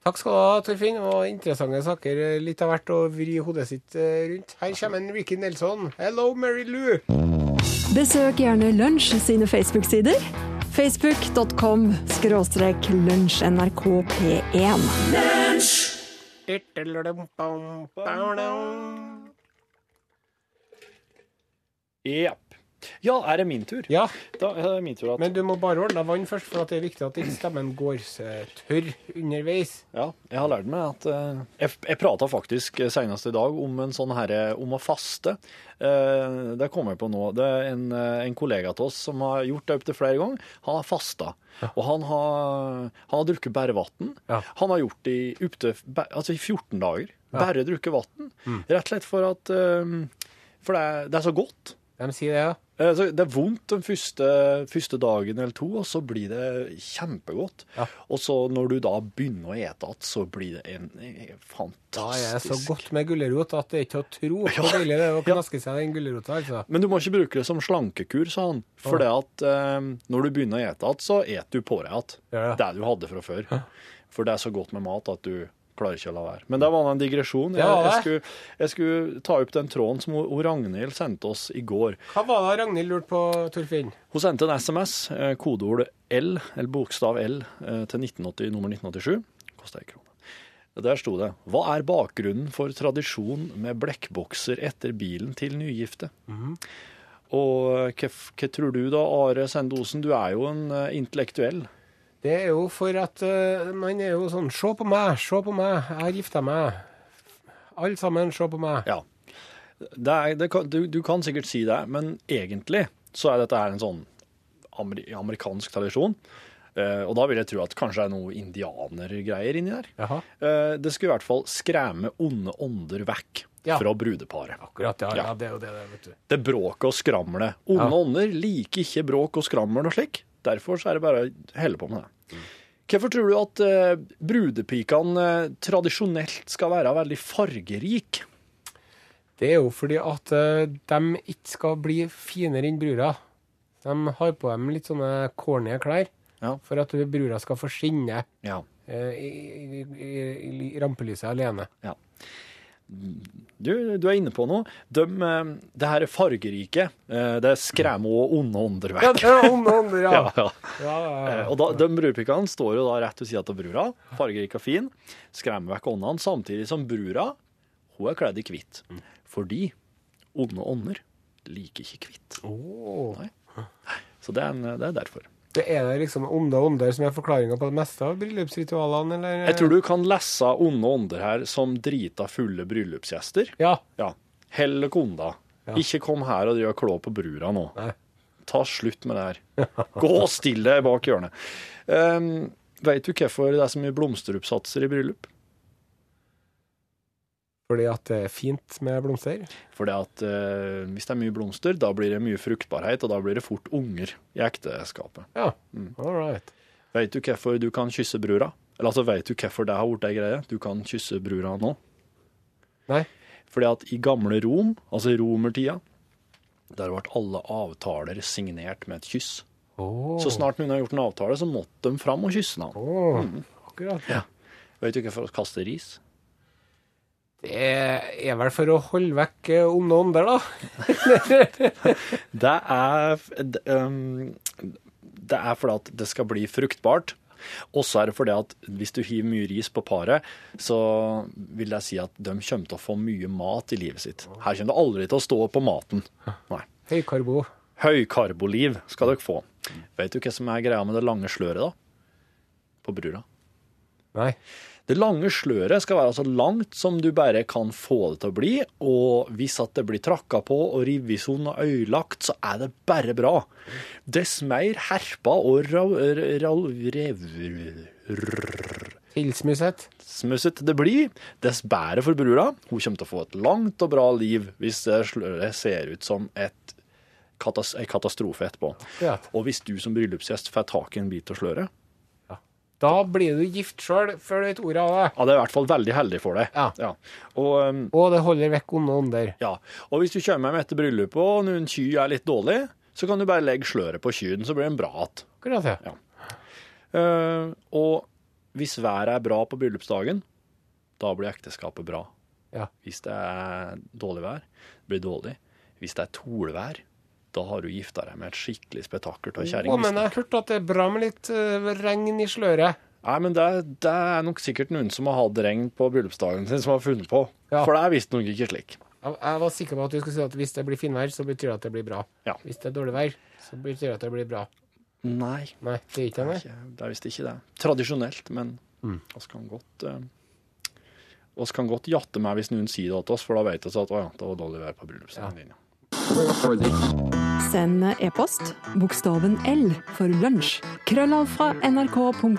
[SPEAKER 3] Takk skal du ha, Torfinn. Og interessante saker. Litt av hvert å vri hodet sitt eh, rundt. Her kommer en Ricky Nelson. Hello, Mary Lou.
[SPEAKER 7] Besøk gjerne Lunsj sine Facebook-sider. Facebook.com skråstrek lunsjnrkp1.
[SPEAKER 5] Jepp. Ja, er det min tur?
[SPEAKER 3] Ja,
[SPEAKER 5] Da er det min tur at
[SPEAKER 3] men du må bare ordne deg vann først, for at det er viktig at ikke stemmen går eh, tørr underveis.
[SPEAKER 5] Ja, jeg har lært meg at eh, Jeg, jeg prata faktisk eh, senest i dag om en sånn herre om å faste. Eh, det kom jeg på nå. Det er en, eh, en kollega av oss som har gjort det opptil flere ganger. Han har fasta. Og han har, han har drukket bare vann.
[SPEAKER 3] Ja.
[SPEAKER 5] Han har gjort det i opptil bæ- altså i 14 dager. Bare drukket vann. Rett og slett for at eh, For det er, det er så godt.
[SPEAKER 3] De sier det, ja.
[SPEAKER 5] Eh, Så det er vondt den første, første dagen eller to, og så blir det kjempegodt.
[SPEAKER 3] Ja.
[SPEAKER 5] Og så når du da begynner å ete igjen, så blir det en, en
[SPEAKER 3] Da er det så
[SPEAKER 5] fantastisk
[SPEAKER 3] godt med gulrot at det er ikke å tro hvor deilig det er å knaske seg den gulrota, altså.
[SPEAKER 5] Men du må ikke bruke det som slankekur, sa han. For det at eh, når du begynner å ete igjen, så et du på deg igjen.
[SPEAKER 3] Ja, ja.
[SPEAKER 5] Det du hadde fra før. For det er så godt med mat at du klarer ikke å la være. Men det var en digresjon. Jeg,
[SPEAKER 3] var
[SPEAKER 5] jeg,
[SPEAKER 3] det.
[SPEAKER 5] skulle, jeg skulle ta opp den tråden som hun- hun Ragnhild sendte oss i går.
[SPEAKER 3] Hva var det Ragnhild lurte på, Torfinn?
[SPEAKER 5] Hun sendte en SMS, eh, kodeord L, eller bokstav L, eh, til 1980, nummer 1987. Kosta ei krone. Der sto det Hva er bakgrunnen for tradisjon med blekkbokser etter bilen til nygifte? Og eh, hva, f- hva tror du da, Are Sendosen? Du er jo en eh, intellektuell.
[SPEAKER 3] Det er jo for at eh, man er jo sånn Se på meg, se på meg, jeg har gifta meg. Alle sammen, se på meg.
[SPEAKER 5] Ja. Det er, det kan, du, du kan sikkert si det, men egentlig så er dette her en sånn ameri amerikansk tradisjon. Eh, og da vil jeg tro at kanskje det er noe indianergreier inni der.
[SPEAKER 3] Jaha.
[SPEAKER 5] Eh, det skulle i hvert fall skremme onde ånder vekk
[SPEAKER 3] Ja.
[SPEAKER 5] fra brudeparet.
[SPEAKER 3] Akkurat, ja, ja.
[SPEAKER 5] Ja.
[SPEAKER 3] det er jo det, det, vet du.
[SPEAKER 5] Det bråket og skramlet. Onde
[SPEAKER 3] Ja.
[SPEAKER 5] ånder liker ikke bråk og skrammel og slik. Derfor så er det bare å helle på med det. Hvorfor tror du at eh, brudepikene eh, tradisjonelt skal være veldig fargerike?
[SPEAKER 3] Det er jo fordi at eh, de ikke skal bli finere enn brura. De har på dem litt sånne corny klær
[SPEAKER 5] Ja.
[SPEAKER 3] for at brura skal få skinne
[SPEAKER 5] Ja.
[SPEAKER 3] eh, i, i, i, i rampelyset alene.
[SPEAKER 5] Du, du er inne på noe. De, eh, det her fargerike, eh, det skremmer også onde ånder
[SPEAKER 3] Ja,
[SPEAKER 5] vekk.
[SPEAKER 3] det er eh, om noen, ja.
[SPEAKER 5] Ja, ja.
[SPEAKER 3] Ja, ja,
[SPEAKER 5] Eh,
[SPEAKER 3] ja.
[SPEAKER 5] Og da, de brudepikene står jo da rett ved sida av brura, fargerik og fin, skremmer vekk åndene, samtidig som brura hun er kledd i hvitt.
[SPEAKER 3] Mm.
[SPEAKER 5] Fordi onde ånder liker ikke hvitt.
[SPEAKER 3] Oh. Åh.
[SPEAKER 5] Så det er, en, det er derfor.
[SPEAKER 3] Det er det liksom onde ånder som er forklaringa på det meste av bryllupsritualene, eller?
[SPEAKER 5] Jeg tror du kan lese onde ånder her som drita fulle bryllupsgjester.
[SPEAKER 3] Ja.
[SPEAKER 5] Ja. Hell konda. Ikke kom her og driv og klå på brura nå.
[SPEAKER 3] Nei.
[SPEAKER 5] Ta slutt med det her. Gå stille bak hjørnet. Um, Veit du hvorfor det er så mye blomsteroppsatser i bryllup?
[SPEAKER 3] Fordi at det er fint med blomster.
[SPEAKER 5] Fordi at eh, hvis det er mye blomster, da blir det mye fruktbarhet, og da blir det fort unger i ekteskapet.
[SPEAKER 3] Ja. All right.
[SPEAKER 5] Veit du hvorfor du kan kysse brura? Eller altså, veit du hvorfor det har blitt ei greie? Du kan kysse brura nå.
[SPEAKER 3] Nei.
[SPEAKER 5] Fordi at i gamle Rom, altså i romertida, der ble alle avtaler signert med et kyss.
[SPEAKER 3] Åh.
[SPEAKER 5] Så snart noen har gjort en avtale, så måtte de fram og kysse han.
[SPEAKER 3] Åh, Akkurat.
[SPEAKER 5] Veit du hvorfor de kaster ris?
[SPEAKER 3] Det er vel for å holde vekk eh, onde ånder, da.
[SPEAKER 5] Det er, d- um, det er fordi at det skal bli fruktbart. Og så er det fordi at hvis du hiver mye ris på paret, så vil jeg si at de kommer til å få mye mat i livet sitt. Her kommer det aldri til å stå på maten. Nei.
[SPEAKER 3] Høykarbo.
[SPEAKER 5] Høykarboliv skal dere få. Vet du hva som er greia med det lange sløret, da? på brura.
[SPEAKER 3] Nei.
[SPEAKER 5] Det lange sløret skal være så langt som du bare kan få det til å bli, og hvis at det blir trakka på og revet i sånn og øyelagt, så er det bare bra. Dess mer herpa og ra- ra- ra- rev-
[SPEAKER 3] Tilsmusset.
[SPEAKER 5] smusset det blir, dess bedre for brura. Hun kommer til å få et langt og bra liv hvis det sløret ser ut som et katas en katastrofe etterpå.
[SPEAKER 3] Akkurat.
[SPEAKER 5] Og hvis du som bryllupsgjest får tak i en bit av sløret,
[SPEAKER 3] Da blir du gift sjøl før du vet ordet av det.
[SPEAKER 5] ja, det er i hvert fall veldig heldig for deg.
[SPEAKER 3] Ja.
[SPEAKER 5] Og... Um,
[SPEAKER 3] Og det holder vekk onde ånder.
[SPEAKER 5] Ja, og hvis du kommer hjem etter bryllupet og noen ky er litt dårlig, så kan du bare legge sløret på kyen, så blir den bra igjen.
[SPEAKER 3] Akkurat det.
[SPEAKER 5] Eh, og hvis været er bra på bryllupsdagen, da blir ekteskapet bra.
[SPEAKER 3] Ja.
[SPEAKER 5] Hvis det er dårlig vær, blir det dårlig. Hvis det er tolvær, da har du gifta deg med et skikkelig spetakkel av
[SPEAKER 3] Å, men jeg
[SPEAKER 5] kjerringbister.
[SPEAKER 3] har hørt at det er bra med litt eh, regn i sløret.
[SPEAKER 5] Nei, men det, det er nok sikkert noen som har hatt regn på bryllupsdagen sin, som har funnet på.
[SPEAKER 3] Ja.
[SPEAKER 5] For det er visstnok ikke slik.
[SPEAKER 3] Jeg, jeg var sikker på at du skulle si at hvis det blir finvær, så betyr det at det blir bra.
[SPEAKER 5] Ja.
[SPEAKER 3] Hvis det er dårlig vær, så betyr det at det blir bra.
[SPEAKER 5] Nei. Mm.
[SPEAKER 3] Nei, det er ikke det. nei.
[SPEAKER 5] Ikke, det er visst ikke det. Tradisjonelt, men oss kan godt eh, oss kan godt jatte meg hvis noen sier det til oss, for da vet vi at å ja, det var dårlig vær på bryllupsdagen din. ja.
[SPEAKER 7] Send e-post bokstaven L for lunsj. Krøllav fra nrk.no.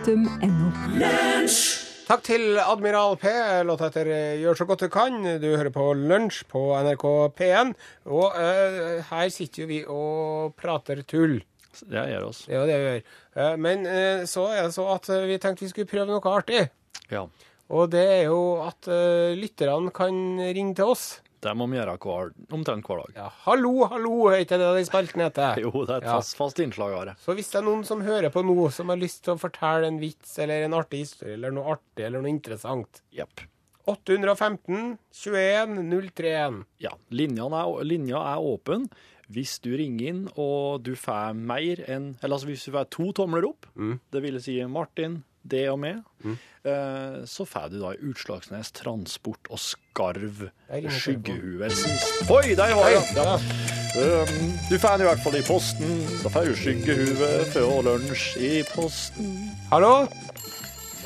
[SPEAKER 3] Takk til Admiral P. Låta etter eh, Gjør så godt du kan. Du hører på Lunsj på NRK P1. Og eh, her sitter jo vi og prater tull.
[SPEAKER 5] Så Det gjør oss.
[SPEAKER 3] Det er jo det vi gjør. Eh, men eh, så er det så at eh, vi tenkte vi skulle prøve noe artig.
[SPEAKER 5] Ja.
[SPEAKER 3] Og det er jo at eh, lytterne kan ringe til oss.
[SPEAKER 5] Det må vi gjøre hver, omtrent hver dag.
[SPEAKER 3] Ja, hallo, hallo, er ikke det den spalten heter?
[SPEAKER 5] Jo, det er et
[SPEAKER 3] Ja.
[SPEAKER 5] fast, fast innslag av det.
[SPEAKER 3] Så hvis det er noen som hører på nå, som har lyst til å fortelle en vits eller en artig historie eller noe artig eller noe interessant
[SPEAKER 5] Jepp.
[SPEAKER 3] 815 21 031.
[SPEAKER 5] Ja. Linjen er, linja er åpen. Hvis du ringer inn og du får mer enn Eller altså hvis du får to tomler opp, det ville si Martin, det og meg, eh, så får du da i Utslagsnes Transport og Skarv
[SPEAKER 3] ringer
[SPEAKER 5] Skyggehue eller sist. Oi, der var jeg! Ja. Um, du får den i hvert fall i posten. Da får du skyggehue før lunsj i posten.
[SPEAKER 3] Hallo?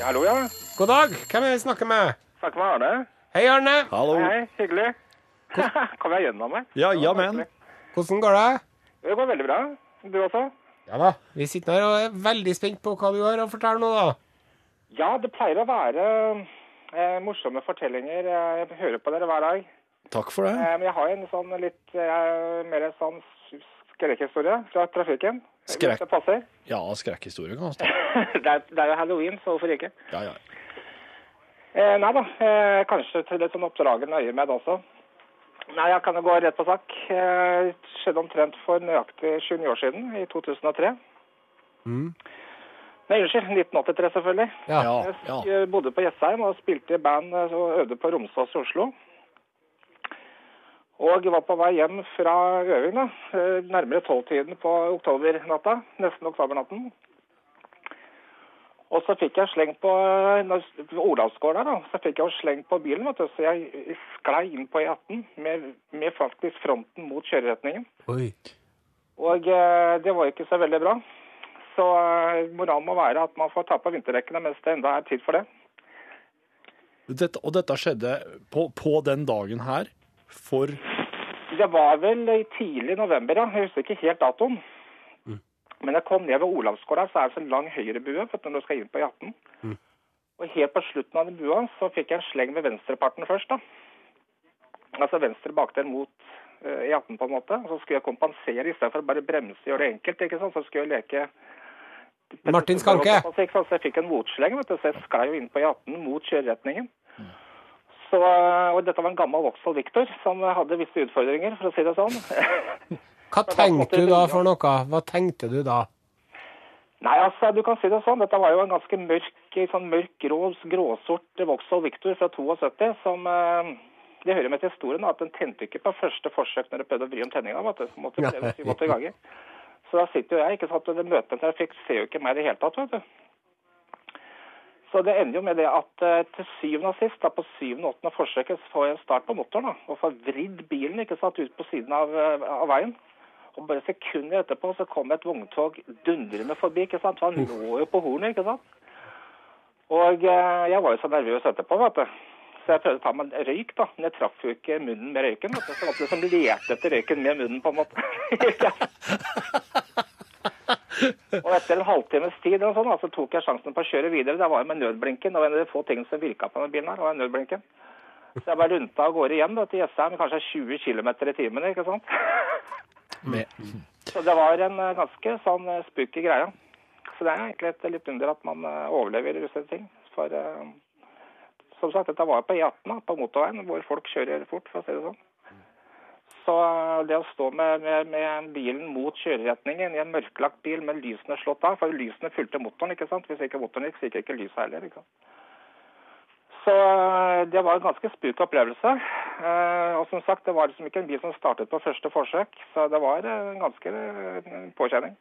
[SPEAKER 8] Hallo, ja.
[SPEAKER 3] God dag. Hvem er det vi snakker med?
[SPEAKER 8] Snakker med Arne.
[SPEAKER 3] Hei, Arne.
[SPEAKER 5] Hallo.
[SPEAKER 8] Hei, hyggelig. Kom jeg gjennom meg?
[SPEAKER 5] Ja, ja men.
[SPEAKER 3] Hvordan går det?
[SPEAKER 8] Det går veldig bra. Du også?
[SPEAKER 3] Ja da. Vi sitter her og er veldig spent på hva du har å fortelle nå, da.
[SPEAKER 8] Ja, det pleier å være eh, morsomme fortellinger. Jeg hører på dere hver dag.
[SPEAKER 5] Takk for det.
[SPEAKER 8] Eh, men jeg har en sånn litt eh, mer sånn skrekkhistorie fra trafikken.
[SPEAKER 5] Skrekk.
[SPEAKER 8] Hvis Det passer.
[SPEAKER 5] Ja, skrekkhistorie kan vi ta.
[SPEAKER 8] det, er, det er jo halloween, så hvorfor ikke?
[SPEAKER 5] Ja, ja.
[SPEAKER 8] Eh, nei da, eh, kanskje til litt sånn oppdragende øye med også. Nei, jeg kan jo gå rett på sak. Eh, skjedde omtrent for nøyaktig 29 år siden, i 2003. Nei, unnskyld, 1983 selvfølgelig.
[SPEAKER 3] Ja.
[SPEAKER 5] Ja,
[SPEAKER 8] Jeg
[SPEAKER 5] ja.
[SPEAKER 8] sk- bodde på Jessheim og spilte i band eh, og øvde på Romsås i Oslo. Og jeg var på vei hjem fra øving, da, eh, nærmere tolvtiden på oktobernatta, nesten oktobernatten. Og så fikk jeg sleng på eh, når- ved Olavsgård der, da. Så fikk jeg jo sleng på bilen, vet du. Så jeg sklei inn på E18 med, med faktisk fronten mot kjøreretningen.
[SPEAKER 3] Oi.
[SPEAKER 8] Og eh, det var ikke så veldig bra. Så eh, moralen må være at man får ta på vinterdekkene mens det enda er tid for det.
[SPEAKER 5] Dette, og dette skjedde på, på den dagen her for
[SPEAKER 8] Det var vel i tidlig november, ja. Jeg husker ikke helt datoen. Men jeg kom ned ved Olavsgård der, så er det en lang høyrebue vet du, når du skal inn på E18. Og helt på slutten av den bua så fikk jeg en sleng med venstreparten først, da. Altså venstre bakdel mot eh, E18 på en måte. Og så skulle jeg kompensere istedenfor å bare bremse og gjøre det enkelt, ikke sant. Så skulle jeg leke
[SPEAKER 3] Martin Skanke.
[SPEAKER 8] Så jeg fikk en motsleng, vet du, så jeg sklei jo inn på E18 mot kjøreretningen.
[SPEAKER 3] Mm.
[SPEAKER 8] Så, eh, og dette var en gammel Vauxhall Victor som hadde visse utfordringer, for å si det sånn.
[SPEAKER 3] Hva tenkte du da for noe? Hva tenkte du da?
[SPEAKER 8] Nei, altså, du kan si det sånn. Dette var jo en ganske mørk, sånn mørk grå, gråsort Vauxhall Victor fra 72 som eh, Det hører med til historien da, at den tente ikke på første forsøk når du prøvde å vri om tenninga. vet du. Så måtte du prøve 87 ganger. Så da sitter jo jeg, ikke sant, og det møtet der fikk ser jo ikke meg i det hele tatt, vet du. Så det ender jo med det at eh, til syvende og sist, da på syvende og åttende forsøket, så får jeg start på motoren da, og får vridd bilen ikke sant, ut på siden av, eh, av veien. Og bare sekunder etterpå så kom et vogntog dundrende forbi. ikke sant? Han lå jo på hornet, ikke sant? Og eh, jeg var jo så nervøs etterpå, vet du. Så jeg prøvde å ta meg en røyk, da. Men jeg traff jo ikke munnen med røyken. vet du. Så det var som lete etter røyken med munnen, på en måte. og etter en halvtimes tid og sånn, da, så tok jeg sjansen på å kjøre videre. Det var jo med nødblinken. Og en av de få tingene som virka på denne bilen her, var nødblinken. Så jeg bare lunta av gårde igjen da, til Jessheim, kanskje 20 km i timen, ikke sant. Så det var en eh, ganske sånn eh, spooky greie. Så det er egentlig et litt under at man eh, overlever russede ting. For eh, som sagt, dette var på E18 da, på motorveien, hvor folk kjører fort, for å si det sånn. Så eh, det å stå med, med, med bilen mot kjøreretningen i en mørklagt bil med lysene slått av, for lysene fulgte motoren, ikke sant. Hvis ikke motoren gikk, så gikk ikke lyset heller, ikke sant. Så eh, det var en ganske spuk opplevelse. Eh, Og som sagt, det var liksom ikke en bil som startet på første forsøk, så det var eh, en ganske eh, påkjenning.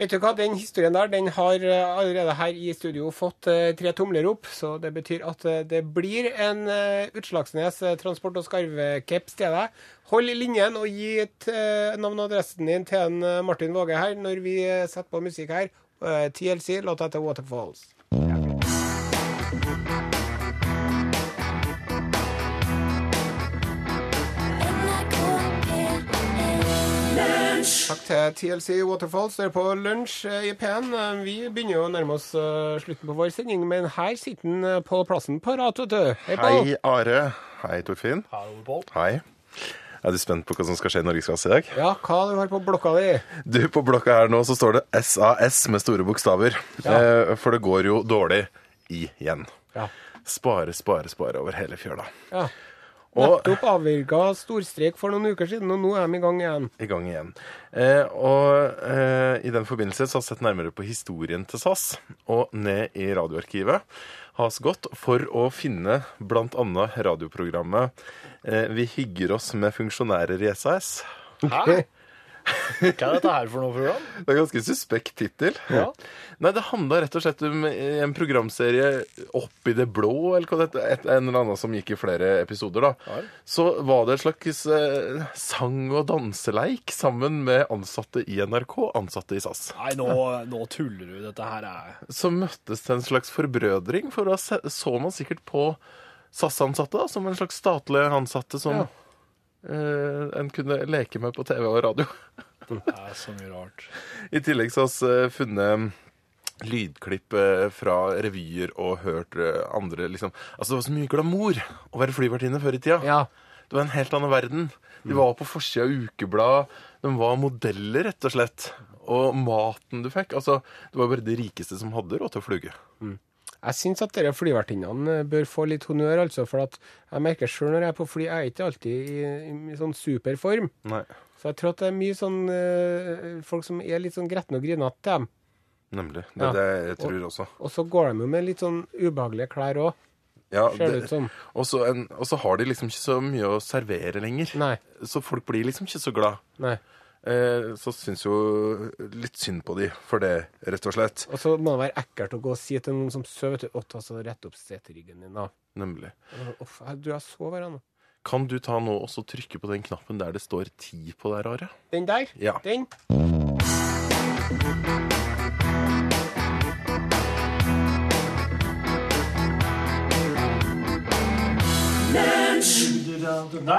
[SPEAKER 3] Vet du hva, den historien der den har eh, allerede her i studio fått eh, tre tomler opp, så det betyr at eh, det blir en eh, Utslagsnes eh, transport- og skarvecaps til deg. Hold linjen og gi et eh, navn og adressen din til en eh, Martin Våge her når vi eh, setter på musikk her. Eh, TLC, låta etter Waterfalls. Takk til TLC Waterfalls. Dere er på lunsj eh, i P1. Eh, Vi begynner jo å nærme oss eh, slutten på vår sending, men her sitter han, eh, Pål Plassen parat, vet du. Hei, Pål.
[SPEAKER 9] Hei, Are. Hei, Torfinn. Hei. Er du spent på hva som skal skje i Norgesklasse i dag?
[SPEAKER 3] Ja, hva du har på blokka di?
[SPEAKER 9] Du, På blokka her nå så står det SAS med store bokstaver. Eh, for det går jo dårlig igjen.
[SPEAKER 3] Ja.
[SPEAKER 9] Spare, spare, spare over hele fjøla.
[SPEAKER 3] Ja.
[SPEAKER 9] Og
[SPEAKER 3] Nettopp avvirka storstreik for noen uker siden, og nå er de i gang igjen.
[SPEAKER 9] i gang igjen. Eh, og eh, i den forbindelse så har jeg sett nærmere på historien til SAS, og ned i radioarkivet har vi gått for å finne bl.a. radioprogrammet eh, Vi hygger oss med funksjonærer i SAS.
[SPEAKER 10] Hva er dette her for noe program?
[SPEAKER 9] Det er en ganske suspekt tittel. Nei, det handla rett og slett om en programserie opp i det blå, eller hva det heter. Et, en eller annen som gikk i flere episoder, da. Så var det en slags eh, sang- og danseleik sammen med ansatte i NRK, ansatte i SAS.
[SPEAKER 10] Nei, nå, nå tuller du. Dette her er
[SPEAKER 9] Så møttes det en slags forbrødring, for da se- så man sikkert på SAS-ansatte da, som en slags statlig ansatte som eh, en kunne leke med på TV og radio.
[SPEAKER 10] Det er så mye rart.
[SPEAKER 9] I tillegg så har vi eh, funnet mm, lydklipp eh, fra revyer og hørt eh, andre liksom. Altså Det var så mye glamour å være flyvertinne før i tida.
[SPEAKER 3] Ja.
[SPEAKER 9] Det var en helt annen verden. De var på forsida av ukeblad. De var modeller, rett og slett. Og maten du fikk altså Det var bare de rikeste som hadde råd til å fluge.
[SPEAKER 3] Jeg syns at dere flyvertinnene eh, bør få litt honnør, altså. For at jeg merker sjøl når jeg er på fly, jeg er ikke alltid i, i sånn super form.
[SPEAKER 9] Nei.
[SPEAKER 3] Så jeg tror at det er mye sånn eh, folk som er litt sånn gretne og grinete til dem.
[SPEAKER 9] Nemlig. Det
[SPEAKER 3] Ja.
[SPEAKER 9] er det jeg tror også.
[SPEAKER 3] Og så går de jo med litt sånn ubehagelige klær òg,
[SPEAKER 9] Ja,
[SPEAKER 3] ser sånn. det
[SPEAKER 9] det-
[SPEAKER 3] ut som.
[SPEAKER 9] og så en- og så har de liksom ikke så mye å servere lenger.
[SPEAKER 3] Nei.
[SPEAKER 9] Så folk blir liksom ikke så glad.
[SPEAKER 3] Nei.
[SPEAKER 9] eh, så syns jo litt synd på de for det, rett og slett.
[SPEAKER 3] Og så må det være ekkelt å gå og si til noen som sover, vet du, å ta så rett opp seteryggen din, da.
[SPEAKER 9] Nemlig.
[SPEAKER 3] Uff, jeg- du, jeg sover ennå.
[SPEAKER 9] Kan du ta nå og så trykke på den knappen der det står 10 på der, Are?
[SPEAKER 3] Den der?
[SPEAKER 9] Ja.
[SPEAKER 3] Den?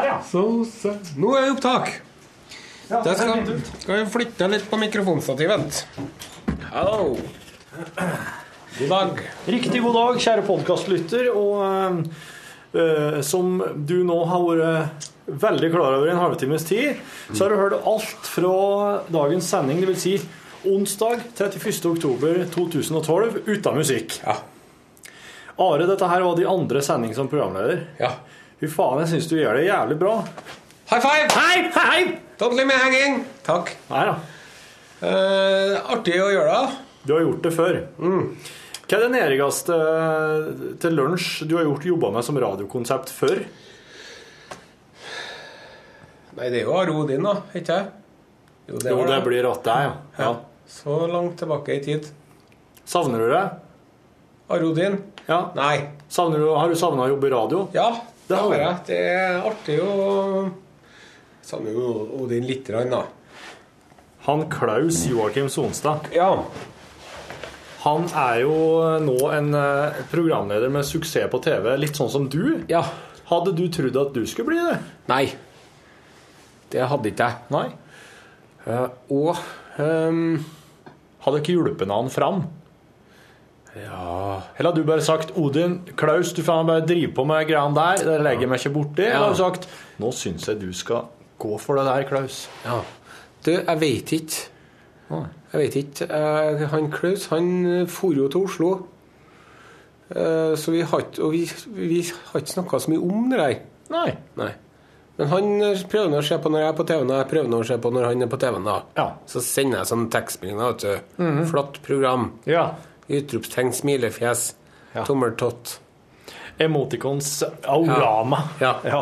[SPEAKER 3] Nå er det opptak! Da skal, skal vi flytte litt på mikrofonstativet. Hallo. God dag.
[SPEAKER 5] Riktig god dag, kjære podkastlytter. Og eh, eh, som du nå har vært veldig klar over i en halvtimes tid, så har du hørt alt fra dagens sending, dvs. Si onsdag 31.10.2012 uten musikk. Are, dette her var de andre sending som programleder.
[SPEAKER 3] Ja.
[SPEAKER 5] Fy faen, jeg syns du gjør det jævlig bra.
[SPEAKER 3] High five!
[SPEAKER 5] Hei, hei, hei!
[SPEAKER 3] Don't leave me hanging! Takk.
[SPEAKER 5] Nei da.
[SPEAKER 3] Eh, artig å gjøre det.
[SPEAKER 5] Du har gjort det før. Mm. Hva er det nærmeste til lunsj du har gjort jobba med som radiokonsept før?
[SPEAKER 3] Nei, det er jo Arodin, da. Ikke det?
[SPEAKER 5] Jo,
[SPEAKER 3] var
[SPEAKER 5] det blir at det, ja. ja.
[SPEAKER 3] Så langt tilbake i tid.
[SPEAKER 5] Savner du det?
[SPEAKER 3] Arodin?
[SPEAKER 5] Ja.
[SPEAKER 3] Nei.
[SPEAKER 5] Savner du, har du savna å jobbe i radio?
[SPEAKER 3] Ja,
[SPEAKER 5] Det
[SPEAKER 3] det
[SPEAKER 5] har
[SPEAKER 3] har jeg.
[SPEAKER 5] jeg.
[SPEAKER 3] Det er artig å Savner jo Odin litt, grann, da.
[SPEAKER 5] Han Klaus Joakim Sonstad,
[SPEAKER 3] Ja.
[SPEAKER 5] Han er jo nå en eh, programleder med suksess på TV, litt sånn som du.
[SPEAKER 3] Ja.
[SPEAKER 5] Hadde du trodd at du skulle bli det?
[SPEAKER 3] Nei. Det hadde ikke jeg.
[SPEAKER 5] Nei.
[SPEAKER 3] Eh, og ehm,
[SPEAKER 5] Hadde ikke hjulpet han fram? Ja Eller hadde du bare sagt 'Odin, Klaus, du faen bare driver på med greiene der, det legger jeg meg ikke borti'? Eller hadde du sagt 'Nå syns jeg du skal gå for det der, Klaus'?
[SPEAKER 3] ja. Du, jeg vet ikke.
[SPEAKER 5] Nei.
[SPEAKER 3] Jeg vet ikke. Eh, han Klaus han for jo til Oslo. Eh, så vi har ikke og vi, vi har ikke snakka så mye om det der.
[SPEAKER 5] Nei.
[SPEAKER 3] Nei. Men han eh, prøver nå å se på når jeg er på TV-en, og jeg prøver nå å se på når han er på TV-en. da.
[SPEAKER 5] Ja. Mhm.
[SPEAKER 3] Så sender jeg sånn tekstmelding. da, vet du. Flott program.
[SPEAKER 5] Ja.
[SPEAKER 3] Utropstegn, smilefjes,
[SPEAKER 5] Ja.
[SPEAKER 3] tommeltott.
[SPEAKER 5] Emoticons aurama.
[SPEAKER 3] Ja.
[SPEAKER 5] Ja.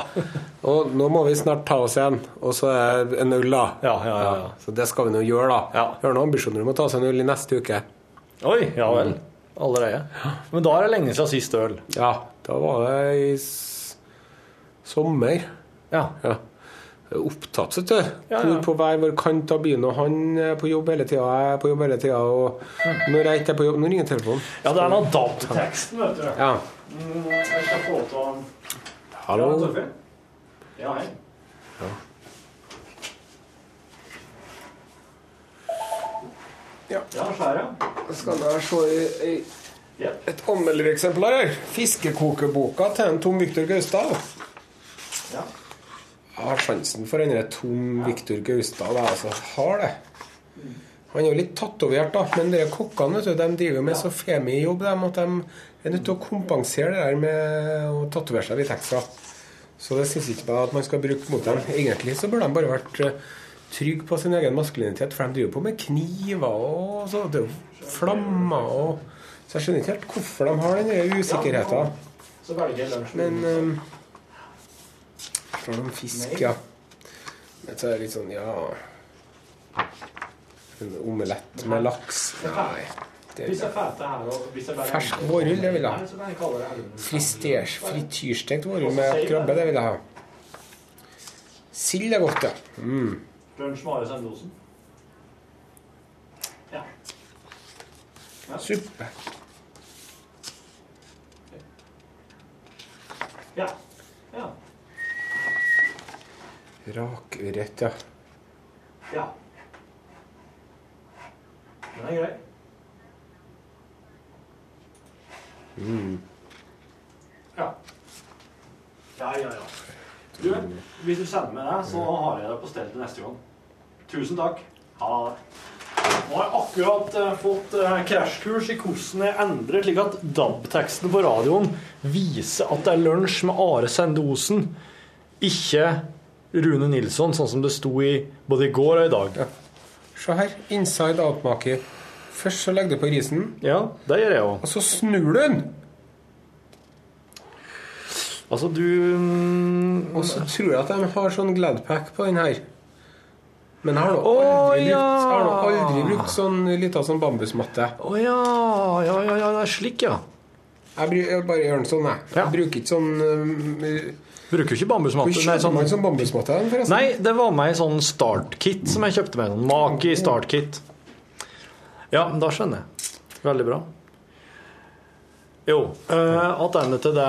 [SPEAKER 3] Og nå må vi snart ta oss igjen. Og så er det en øl, da.
[SPEAKER 5] Ja, ja, ja, ja.
[SPEAKER 3] Så det skal vi nå gjøre, da.
[SPEAKER 5] Ja.
[SPEAKER 3] Vi har noen ambisjoner om å ta oss en øl i neste uke.
[SPEAKER 5] Oi, ja vel. Mm. Allerede. Men da er det lenge siden sist øl.
[SPEAKER 3] Ja, da var det i s sommer.
[SPEAKER 5] Ja.
[SPEAKER 3] Ja. Jeg er Opptatt, vet du.
[SPEAKER 5] Ja,
[SPEAKER 3] Bor
[SPEAKER 5] ja.
[SPEAKER 3] på hver vår kant av byen, og han er på jobb hele tida, jeg er på jobb hele tida, og
[SPEAKER 5] Mm.
[SPEAKER 3] når jeg ikke er på jobb Nå ringer telefonen.
[SPEAKER 5] ja, det er noe DAB til teksten, vet du.
[SPEAKER 3] Ja.
[SPEAKER 5] eh, Jeg skal få ta den.
[SPEAKER 3] Hallo.
[SPEAKER 5] Ja, hei. Ja. Ja, skjære.
[SPEAKER 3] Skal da se i, i
[SPEAKER 5] Ja.
[SPEAKER 3] et anmeldereksemplar her. Fiskekokeboka til en Tom Viktor Gaustad.
[SPEAKER 5] Ja.
[SPEAKER 3] Jeg har sjansen for å endre Tom Viktor Gaustad. Jeg altså har det. Han er jo litt tatovert, da, men de kokkene vet du, de driver med så femi-jobb de, at de er nødt til å kompensere det der med å tatovere seg litt ekstra. Så det syns ikke jeg at man skal bruke mot dem. Egentlig så burde de bare vært eh, trygge på sin egen maskulinitet, for de driver på med kniver og så, det er jo flammer og Så jeg skjønner ikke helt hvorfor de har den der usikkerheten.
[SPEAKER 5] Så velger jeg lunsj.
[SPEAKER 3] Men um, Fra noen fisk, ja. Dette er litt sånn, ja En omelett med laks. Nei. Det
[SPEAKER 5] Hvis jeg fæter her og hvis jeg bare...
[SPEAKER 3] Fersk vårrull, det vil jeg ha.
[SPEAKER 5] Så kan jeg kalle det elven.
[SPEAKER 3] Fristers, frityrstekt vårrull med krabbe, det vil jeg ha. Sild er godt, ja. Mm.
[SPEAKER 5] Lunsj med Are Sendosen. Ja.
[SPEAKER 3] Suppe.
[SPEAKER 5] Ja. Ja.
[SPEAKER 3] Rakørret, ja.
[SPEAKER 5] Ja. Den er grei. Ja. Ja, ja, ja. Du, hvis du sender meg det, så har jeg det på stell til neste gang. Tusen takk. Ha det. Nå har jeg akkurat eh, fått eh, krasjkurs i hvordan jeg endrer slik at DAB-teksten på radioen viser at det er lunsj med Are Sende Osen, ikke Rune Nilsson, sånn som det sto i både i går og i dag.
[SPEAKER 3] Se her. Inside out-maker. Først så legger du på risen,
[SPEAKER 5] Ja, det gjør jeg òg.
[SPEAKER 3] og så snur du den!
[SPEAKER 5] Altså, du mm,
[SPEAKER 3] Og så tror jeg at de har sånn Gladpack på den her. Men jeg har nå
[SPEAKER 5] Å,
[SPEAKER 3] aldri,
[SPEAKER 5] ja!
[SPEAKER 3] brukt, jeg har nå aldri brukt sånn lita sånn bambusmatte.
[SPEAKER 5] Å ja. ja, ja, ja, det er slik, ja.
[SPEAKER 3] Jeg, bru- jeg bare gjør den sånn, jeg.
[SPEAKER 5] Ja.
[SPEAKER 3] jeg bruker ikke sånn um,
[SPEAKER 5] Bruker jo ikke
[SPEAKER 3] Hvor
[SPEAKER 5] bambusmatte. Nei,
[SPEAKER 3] kjøper
[SPEAKER 5] sånn,
[SPEAKER 3] man sånn bambusmatte, hen, forresten?
[SPEAKER 5] nei, det var med ei sånn startkit som jeg kjøpte meg. Sånn Maki startkit. Ja, men da skjønner jeg. Veldig bra. Jo, eh, attende til det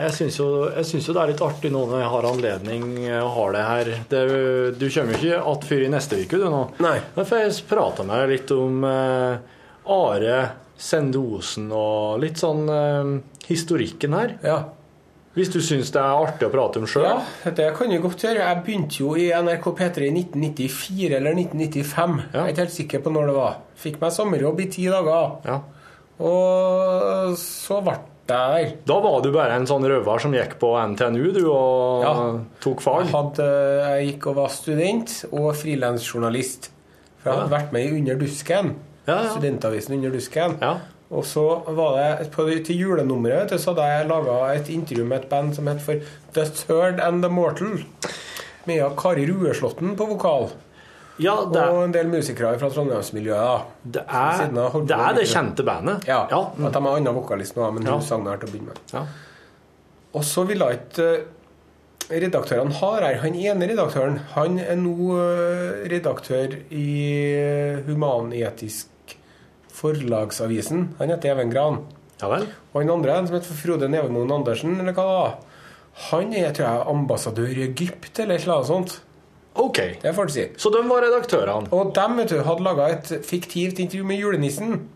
[SPEAKER 5] Jeg syns jo, jeg synes jo det er litt artig nå når jeg har anledning eh, og har det her. Det, er jo- du kommer jo ikke att før i neste uke, du nå.
[SPEAKER 3] Nei.
[SPEAKER 5] Da får jeg prate med deg litt om eh, Are Sendosen og litt sånn eh, historikken her.
[SPEAKER 3] Ja.
[SPEAKER 5] Hvis du syns det er artig å prate om sjøl?
[SPEAKER 3] ja, det kan jeg godt gjøre. Jeg begynte jo i NRK P3 i 1994 eller 1995.
[SPEAKER 5] Ja.
[SPEAKER 3] Jeg er ikke helt sikker på når det var. Fikk meg sommerjobb i ti dager.
[SPEAKER 5] Ja.
[SPEAKER 3] Og så ble jeg der.
[SPEAKER 5] Da var du bare en sånn røver som gikk på NTNU, du, og
[SPEAKER 3] Ja.
[SPEAKER 5] tok fag?
[SPEAKER 3] Jeg, hadde, eh, jeg gikk og var student og frilansjournalist. For jeg hadde vært med i Under dusken.
[SPEAKER 5] Ja, ja.
[SPEAKER 3] Studentavisen Under dusken.
[SPEAKER 5] Ja.
[SPEAKER 3] Og så var det på, til julenummeret vet du, så hadde jeg laga et intervju med et band som het for The Third and the Mortal. Med Kari Rueslåtten på vokal.
[SPEAKER 5] ja, det,
[SPEAKER 3] Og en del musikere fra Trondheimsmiljøet. da.
[SPEAKER 5] det,
[SPEAKER 3] Siden jeg
[SPEAKER 5] er,
[SPEAKER 3] har holdt
[SPEAKER 5] det
[SPEAKER 3] på
[SPEAKER 5] er det
[SPEAKER 3] lenge.
[SPEAKER 5] kjente bandet.
[SPEAKER 3] Ja,
[SPEAKER 5] ja.
[SPEAKER 3] At de har annen vokalist nå, men
[SPEAKER 5] Ja.
[SPEAKER 3] hun sang der til å begynne med.
[SPEAKER 5] Ja.
[SPEAKER 3] Og så ville ikke eh, redaktørene ha her. Han ene redaktøren han er nå eh, redaktør i eh, Human-Etisk Forlagsavisen. Han heter Even Gran. Og han andre, han som heter Frode Nevemoen Andersen, eller hva det var, han er, tror jeg, ambassadør i Egypt eller et eller annet sånt.
[SPEAKER 5] Ok.
[SPEAKER 3] Det får du si.
[SPEAKER 5] Så de var redaktørene?
[SPEAKER 3] Og de, vet du, hadde laga et fiktivt intervju med julenissen.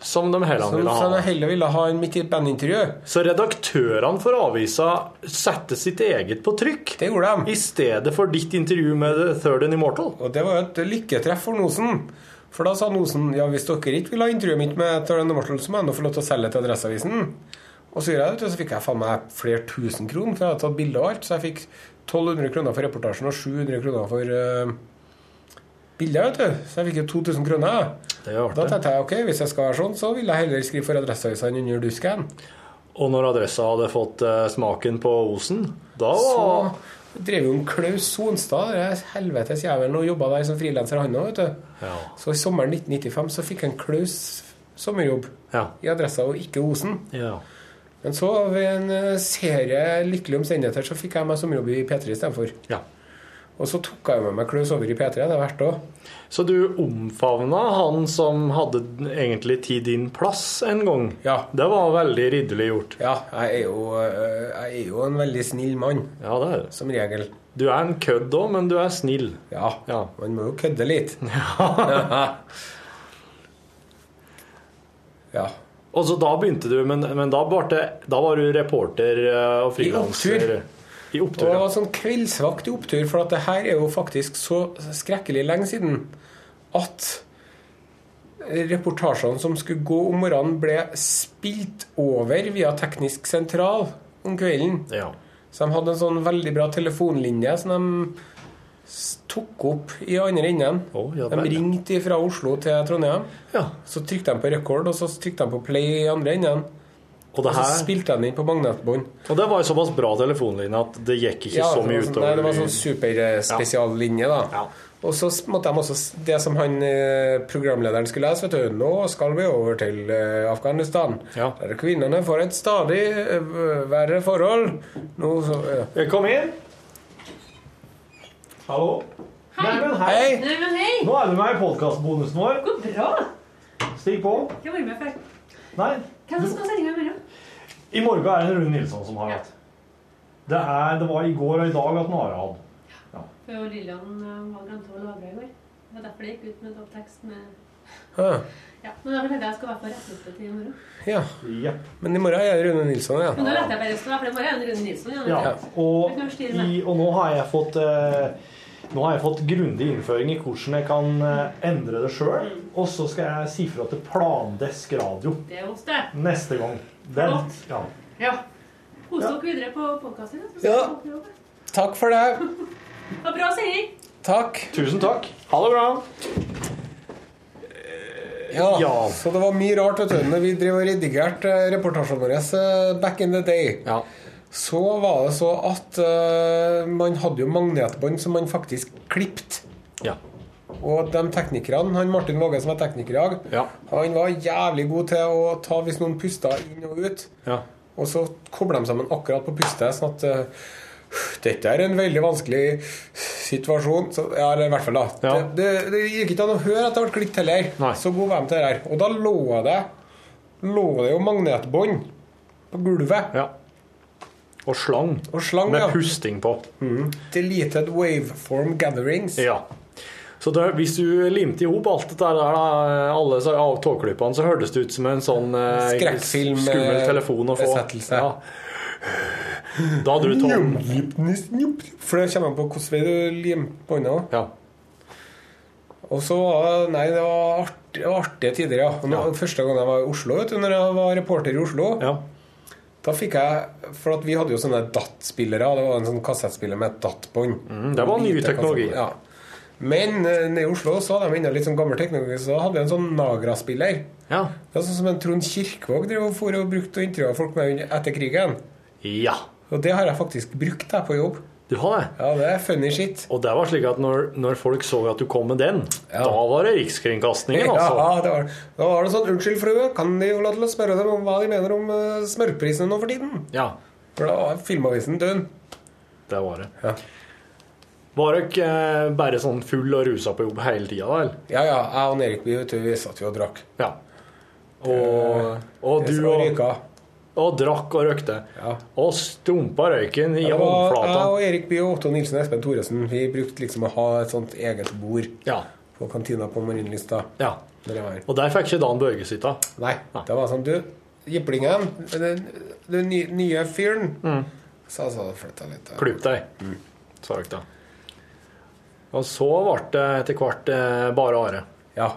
[SPEAKER 5] Som de heller
[SPEAKER 3] Som
[SPEAKER 5] ville
[SPEAKER 3] som de
[SPEAKER 5] ha.
[SPEAKER 3] heller ville ha enn mitt i et bandintervju.
[SPEAKER 5] Så redaktørene for avisa setter sitt eget på trykk?
[SPEAKER 3] Det gjorde de.
[SPEAKER 5] I stedet for ditt intervju med The Third and Immortal?
[SPEAKER 3] Og det var jo et lykketreff for Nosen. For da sa Nosen ja, hvis dere ikke vil ha intervjuet mitt med Tarlan Marshall, så må jeg nå få lov til å selge til Adresseavisen. Og så gjorde jeg det, og så fikk jeg faen meg flere tusen kroner, for jeg hadde tatt bilde og alt. Så jeg fikk 1200 kroner for reportasjen og 700 kroner for uh, bildet, vet du. Så jeg fikk jo 2000 kroner. jeg.
[SPEAKER 5] Det er jo
[SPEAKER 3] Da
[SPEAKER 5] artig.
[SPEAKER 3] tenkte jeg ok, hvis jeg skal være sånn, så vil jeg heller skrive for Adresseavisen enn under dusken.
[SPEAKER 5] Og når adressa hadde fått eh, smaken på osen, da var
[SPEAKER 3] Så drev jo en Klaus Sonstad, den helvetes jævelen, og jobba der som frilanser, han òg, vet du.
[SPEAKER 5] ja.
[SPEAKER 3] Så i sommeren 1995 så fikk han Klaus sommerjobb
[SPEAKER 5] ja.
[SPEAKER 3] i Adressa og ikke Osen.
[SPEAKER 5] ja.
[SPEAKER 3] Men så, ved en eh, serie lykkelige omstendigheter, så fikk jeg meg sommerjobb i P3 istedenfor.
[SPEAKER 5] Ja.
[SPEAKER 3] Og så tok jeg med meg Klaus over i P3 etter hvert òg.
[SPEAKER 5] Så du omfavna han som hadde egentlig tid din plass en gang.
[SPEAKER 3] Ja.
[SPEAKER 5] Det var veldig ridderlig gjort.
[SPEAKER 3] Ja, jeg er, jo, eh, jeg er jo en veldig snill mann,
[SPEAKER 5] Ja, det er det.
[SPEAKER 3] som regel.
[SPEAKER 5] Du er en kødd òg, men du er snill.
[SPEAKER 3] Ja,
[SPEAKER 5] Ja.
[SPEAKER 3] man må jo kødde litt. ja.
[SPEAKER 5] Og så da begynte du, men, men da, ble, det- da var du reporter eh, og
[SPEAKER 3] I opptur.
[SPEAKER 5] frilanser. I
[SPEAKER 3] Og
[SPEAKER 5] opptur.
[SPEAKER 3] det
[SPEAKER 5] ja.
[SPEAKER 3] var sånn kveldsvakt i opptur, for at det her er jo faktisk så skrekkelig lenge siden at reportasjene som skulle gå om morgenen, ble spilt over via teknisk sentral om kvelden.
[SPEAKER 5] Ja.
[SPEAKER 3] Så de hadde en sånn veldig bra telefonlinje som de s- tok opp i andre enden.
[SPEAKER 5] Å, ja
[SPEAKER 3] de
[SPEAKER 5] vel.
[SPEAKER 3] ringte fra Oslo til Trondheim.
[SPEAKER 5] ja.
[SPEAKER 3] Så trykte de på record, og så trykte de på play i andre enden.
[SPEAKER 5] Og, det
[SPEAKER 3] Og så
[SPEAKER 5] her,
[SPEAKER 3] spilte de den inn på magnetbånd.
[SPEAKER 5] og det var jo såpass bra telefonlinje at det gikk ikke
[SPEAKER 3] Ja,
[SPEAKER 5] så mye
[SPEAKER 3] det var sånn-
[SPEAKER 5] utover
[SPEAKER 3] Nei, det var sånn superspesiallinje, da.
[SPEAKER 5] Ja.
[SPEAKER 3] Og så s- måtte de også s- Det som han eh, programlederen skulle lese, vet du Nå skal vi over til eh, Afghanistan.
[SPEAKER 5] Ja.
[SPEAKER 3] Der kvinnene får et stadig eh, verre forhold. Nå så eh,
[SPEAKER 5] Eh, Kom inn. Hallo. Hei. Nei, men hei.
[SPEAKER 3] Hei!
[SPEAKER 9] Nei, men hei!
[SPEAKER 5] Nå er du med i podkastbonusen vår.
[SPEAKER 9] Så bra!
[SPEAKER 5] Stig på.
[SPEAKER 9] Jeg var med før.
[SPEAKER 5] Nei,
[SPEAKER 9] Hvem er det som skal sende meg i morgen?
[SPEAKER 5] i morgen er det Rune Nilsson som har hatt. Det, er, det var i går og i dag at han har hatt.
[SPEAKER 9] For Lillian eh, var glemt å lagre i går. Det var derfor det gikk ut med topptekst med
[SPEAKER 3] Ah,
[SPEAKER 9] Ja, men da tenkte jeg jeg skulle være på rett opp til i morgen.
[SPEAKER 3] ja.
[SPEAKER 5] Jepp.
[SPEAKER 3] Men i morgen er det Rune Nilsson igjen.
[SPEAKER 9] Men da lærte jeg bare å stå, for i morgen er det Rune Nilsson igjen.
[SPEAKER 5] Ja. Og, i, og nå har jeg fått eh, nå har jeg fått grundig innføring i hvordan jeg kan eh, endre det sjøl. Og så skal jeg si fra til Plandesk radio
[SPEAKER 9] Det er hos deg.
[SPEAKER 5] neste gang. Den, ja.
[SPEAKER 9] Ja. Kos dere videre på podkasten.
[SPEAKER 3] Ja. Takk for det.
[SPEAKER 9] Det var bra sending.
[SPEAKER 3] Takk.
[SPEAKER 5] Tusen takk. Ha det bra.
[SPEAKER 3] Ja.
[SPEAKER 5] Ja.
[SPEAKER 3] Så det var mye rart, vet du. Når vi drev og redigerte eh, reportasjene våre eh, back in the day.
[SPEAKER 5] Ja.
[SPEAKER 3] Så var det så at eh, man hadde jo magnetbånd som man faktisk klippet.
[SPEAKER 5] Ja.
[SPEAKER 3] Og de teknikerne, han Martin Våge som er tekniker i dag,
[SPEAKER 5] Ja.
[SPEAKER 3] han var jævlig god til å ta hvis noen pusta inn og ut.
[SPEAKER 5] Ja.
[SPEAKER 3] Og så kobla de sammen akkurat på pustet, sånn at eh, dette er en veldig vanskelig situasjon. Så, ja, eller i hvert fall, da.
[SPEAKER 5] Ja.
[SPEAKER 3] Det, det, det gikk ikke an å høre at det ble klippet heller.
[SPEAKER 5] Nei.
[SPEAKER 3] Så god var de til det her. Og da lå det, lå det jo magnetbånd på gulvet.
[SPEAKER 5] ja. Og slang.
[SPEAKER 3] Og slang,
[SPEAKER 5] Med
[SPEAKER 3] ja.
[SPEAKER 5] pusting på.
[SPEAKER 3] Deleted waveform gatherings.
[SPEAKER 5] Ja. Så det, hvis du limte i hop alt dette der, da, alle så- av togklippene, så hørtes det ut som en sånn eh,
[SPEAKER 3] Skrekkfilm,
[SPEAKER 5] skummel
[SPEAKER 3] eh,
[SPEAKER 5] telefon å få.
[SPEAKER 3] besettelse.
[SPEAKER 5] Da hadde du tog.
[SPEAKER 3] For det kommer an på hvordan vei du limper bånda.
[SPEAKER 5] Ja.
[SPEAKER 3] Og så var det Nei, det var, art, det var artige tider, ja. Og nå,
[SPEAKER 5] Ja.
[SPEAKER 3] Første gang jeg var i Oslo, vet du, når jeg var reporter i Oslo,
[SPEAKER 5] ja.
[SPEAKER 3] da fikk jeg For at vi hadde jo sånne DAT-spillere. Det var en sånn kassettspiller med et DAT-bånd.
[SPEAKER 5] Mm, det var ny
[SPEAKER 3] Lite
[SPEAKER 5] teknologi.
[SPEAKER 3] kassettbånd, Ja. Men eh, nede i Oslo så hadde de ennå litt sånn gammel teknologi, så da hadde vi en sånn Nagra-spiller.
[SPEAKER 5] Ja.
[SPEAKER 3] Det var sånn som en Trond Kirkvaag drev og for og brukte og intervjua folk med under- etter krigen.
[SPEAKER 5] ja.
[SPEAKER 3] Og det har jeg faktisk brukt der på jobb.
[SPEAKER 5] Du har det.
[SPEAKER 3] Ja, det er funny shit.
[SPEAKER 5] Og det var slik at når, når folk så at du kom med den, da var det Rikskringkastingen, altså.
[SPEAKER 3] Ja, det var, da var det sånn Unnskyld, frue, kan De jo la til å spørre dem om hva de mener om eh, smørprisene nå for tiden?
[SPEAKER 5] Ja.
[SPEAKER 3] For da var filmavisen død.
[SPEAKER 5] Det var det.
[SPEAKER 3] Ja.
[SPEAKER 5] Var dere eh, bare sånn full og rusa på jobb hele tida, da? eller?
[SPEAKER 3] Ja, ja. Jeg og Erik vi, vet du, vi satt jo og drakk.
[SPEAKER 5] Ja.
[SPEAKER 3] Eh,
[SPEAKER 5] Og, og du og, og drakk og røkte. Og stumpa røyken i
[SPEAKER 3] Ja, det var-
[SPEAKER 5] håndflata.
[SPEAKER 3] Jeg og Erik Bye og Otto Nilsen og Espen Thoresen Vi brukte liksom å ha et sånt eget bord på kantina på Marienlysta.
[SPEAKER 5] Ja.
[SPEAKER 3] Og
[SPEAKER 5] der fikk ikke Dan Børge sitte?
[SPEAKER 3] Nei. Det var sånn Du, jiplingen, den, den ny- nye fyren Så jeg sa det flytta litt.
[SPEAKER 5] Klyp deg,
[SPEAKER 3] Mm.
[SPEAKER 5] sa dere da. Og så ble det etter hvert eh, bare Are.
[SPEAKER 3] Ja.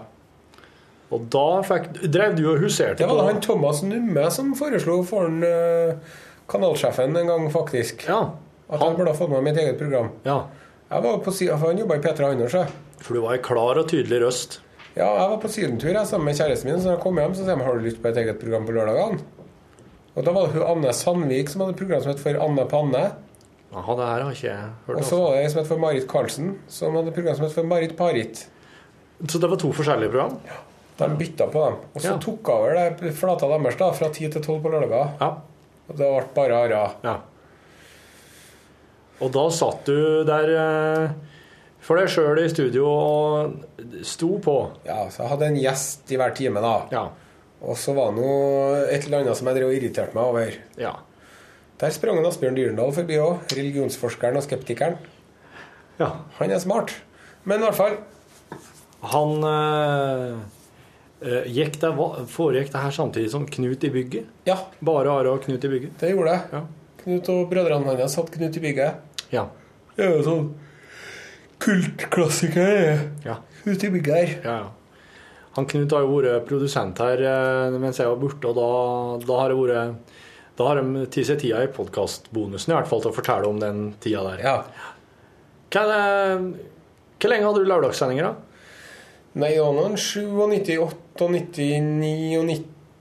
[SPEAKER 5] Og da fikk Drev du og huserte
[SPEAKER 3] Det var da
[SPEAKER 5] på
[SPEAKER 3] han Thomas Numme som foreslo for han eh, kanalsjefen en gang, faktisk. At jeg burde ha fått med mitt eget program. Jeg var på siden, for Han jobba i P3 Anders. jeg.
[SPEAKER 5] For du var ei klar og tydelig røst.
[SPEAKER 3] Ja, jeg var på sydentur jeg, sammen med kjæresten min. Så når jeg kom hjem, så sier de har du lyst på et eget program på lørdagene. Og da var det hun Anne Sandvik som hadde et program som het For Anne Panne.
[SPEAKER 5] Jaha, det her har ikke jeg hørt. altså.
[SPEAKER 3] Og så var det en som het for Marit Karlsen, som hadde et program som het for Marit Parit.
[SPEAKER 5] Så det var to forskjellige program?
[SPEAKER 3] Ja. De bytta på dem. Og så
[SPEAKER 5] Ja.
[SPEAKER 3] tok jeg over det flata deres da, fra 10 til 12 på lørdager. Og det ble bare ara.
[SPEAKER 5] Og da satt du der eh, for deg sjøl i studio og sto på.
[SPEAKER 3] Ja, så jeg hadde en gjest i hver time, da. Og så var det noe et eller annet som jeg drev og irriterte meg over. Der sprang en Asbjørn Dyrendal forbi òg. Religionsforskeren og skeptikeren. Han er smart. Men i hvert fall
[SPEAKER 5] Han eh, eh, gikk det, hva- foregikk det her samtidig som Knut i bygget?
[SPEAKER 3] Ja.
[SPEAKER 5] Bare Are og Knut i bygget?
[SPEAKER 3] Det gjorde det. Knut og brødrene hans satt Knut i bygget.
[SPEAKER 5] Ja.
[SPEAKER 3] Det er jo sånn kultklassiker.
[SPEAKER 5] Ja.
[SPEAKER 3] Knut i bygget her.
[SPEAKER 5] Ja, ja. Han Knut har jo vært produsent her eh, mens jeg var borte, og da, da har det vært da har de tatt seg tida i podkastbonusen i hvert fall til å fortelle om den tida der. Hva, er det- hvor lenge hadde du lørdagssendinger, da?
[SPEAKER 3] Nei, det var noen 97, 98,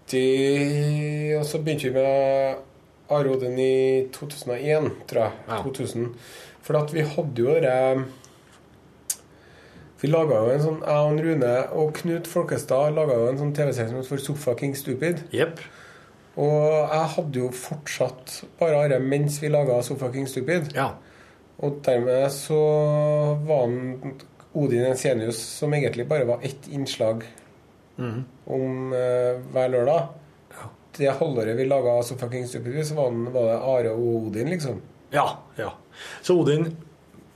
[SPEAKER 3] 99 Og så begynte vi med Aroden i 2001, tror jeg. 2000. For at vi hadde jo det Vi laga jo en sånn Jeg og Rune og Knut Folkestad laga jo en sånn TV-serie som het for Sofa King Stupid. Og jeg hadde jo fortsatt bare Are mens vi laga Sofa King Stupid. Og dermed så var han Odin Ensenius, som egentlig bare var ett innslag om eh, hver lørdag. Det halvåret vi laga Sofa King Stupid, så var, han, var det Are og Odin, liksom.
[SPEAKER 5] Ja, ja. Så Odin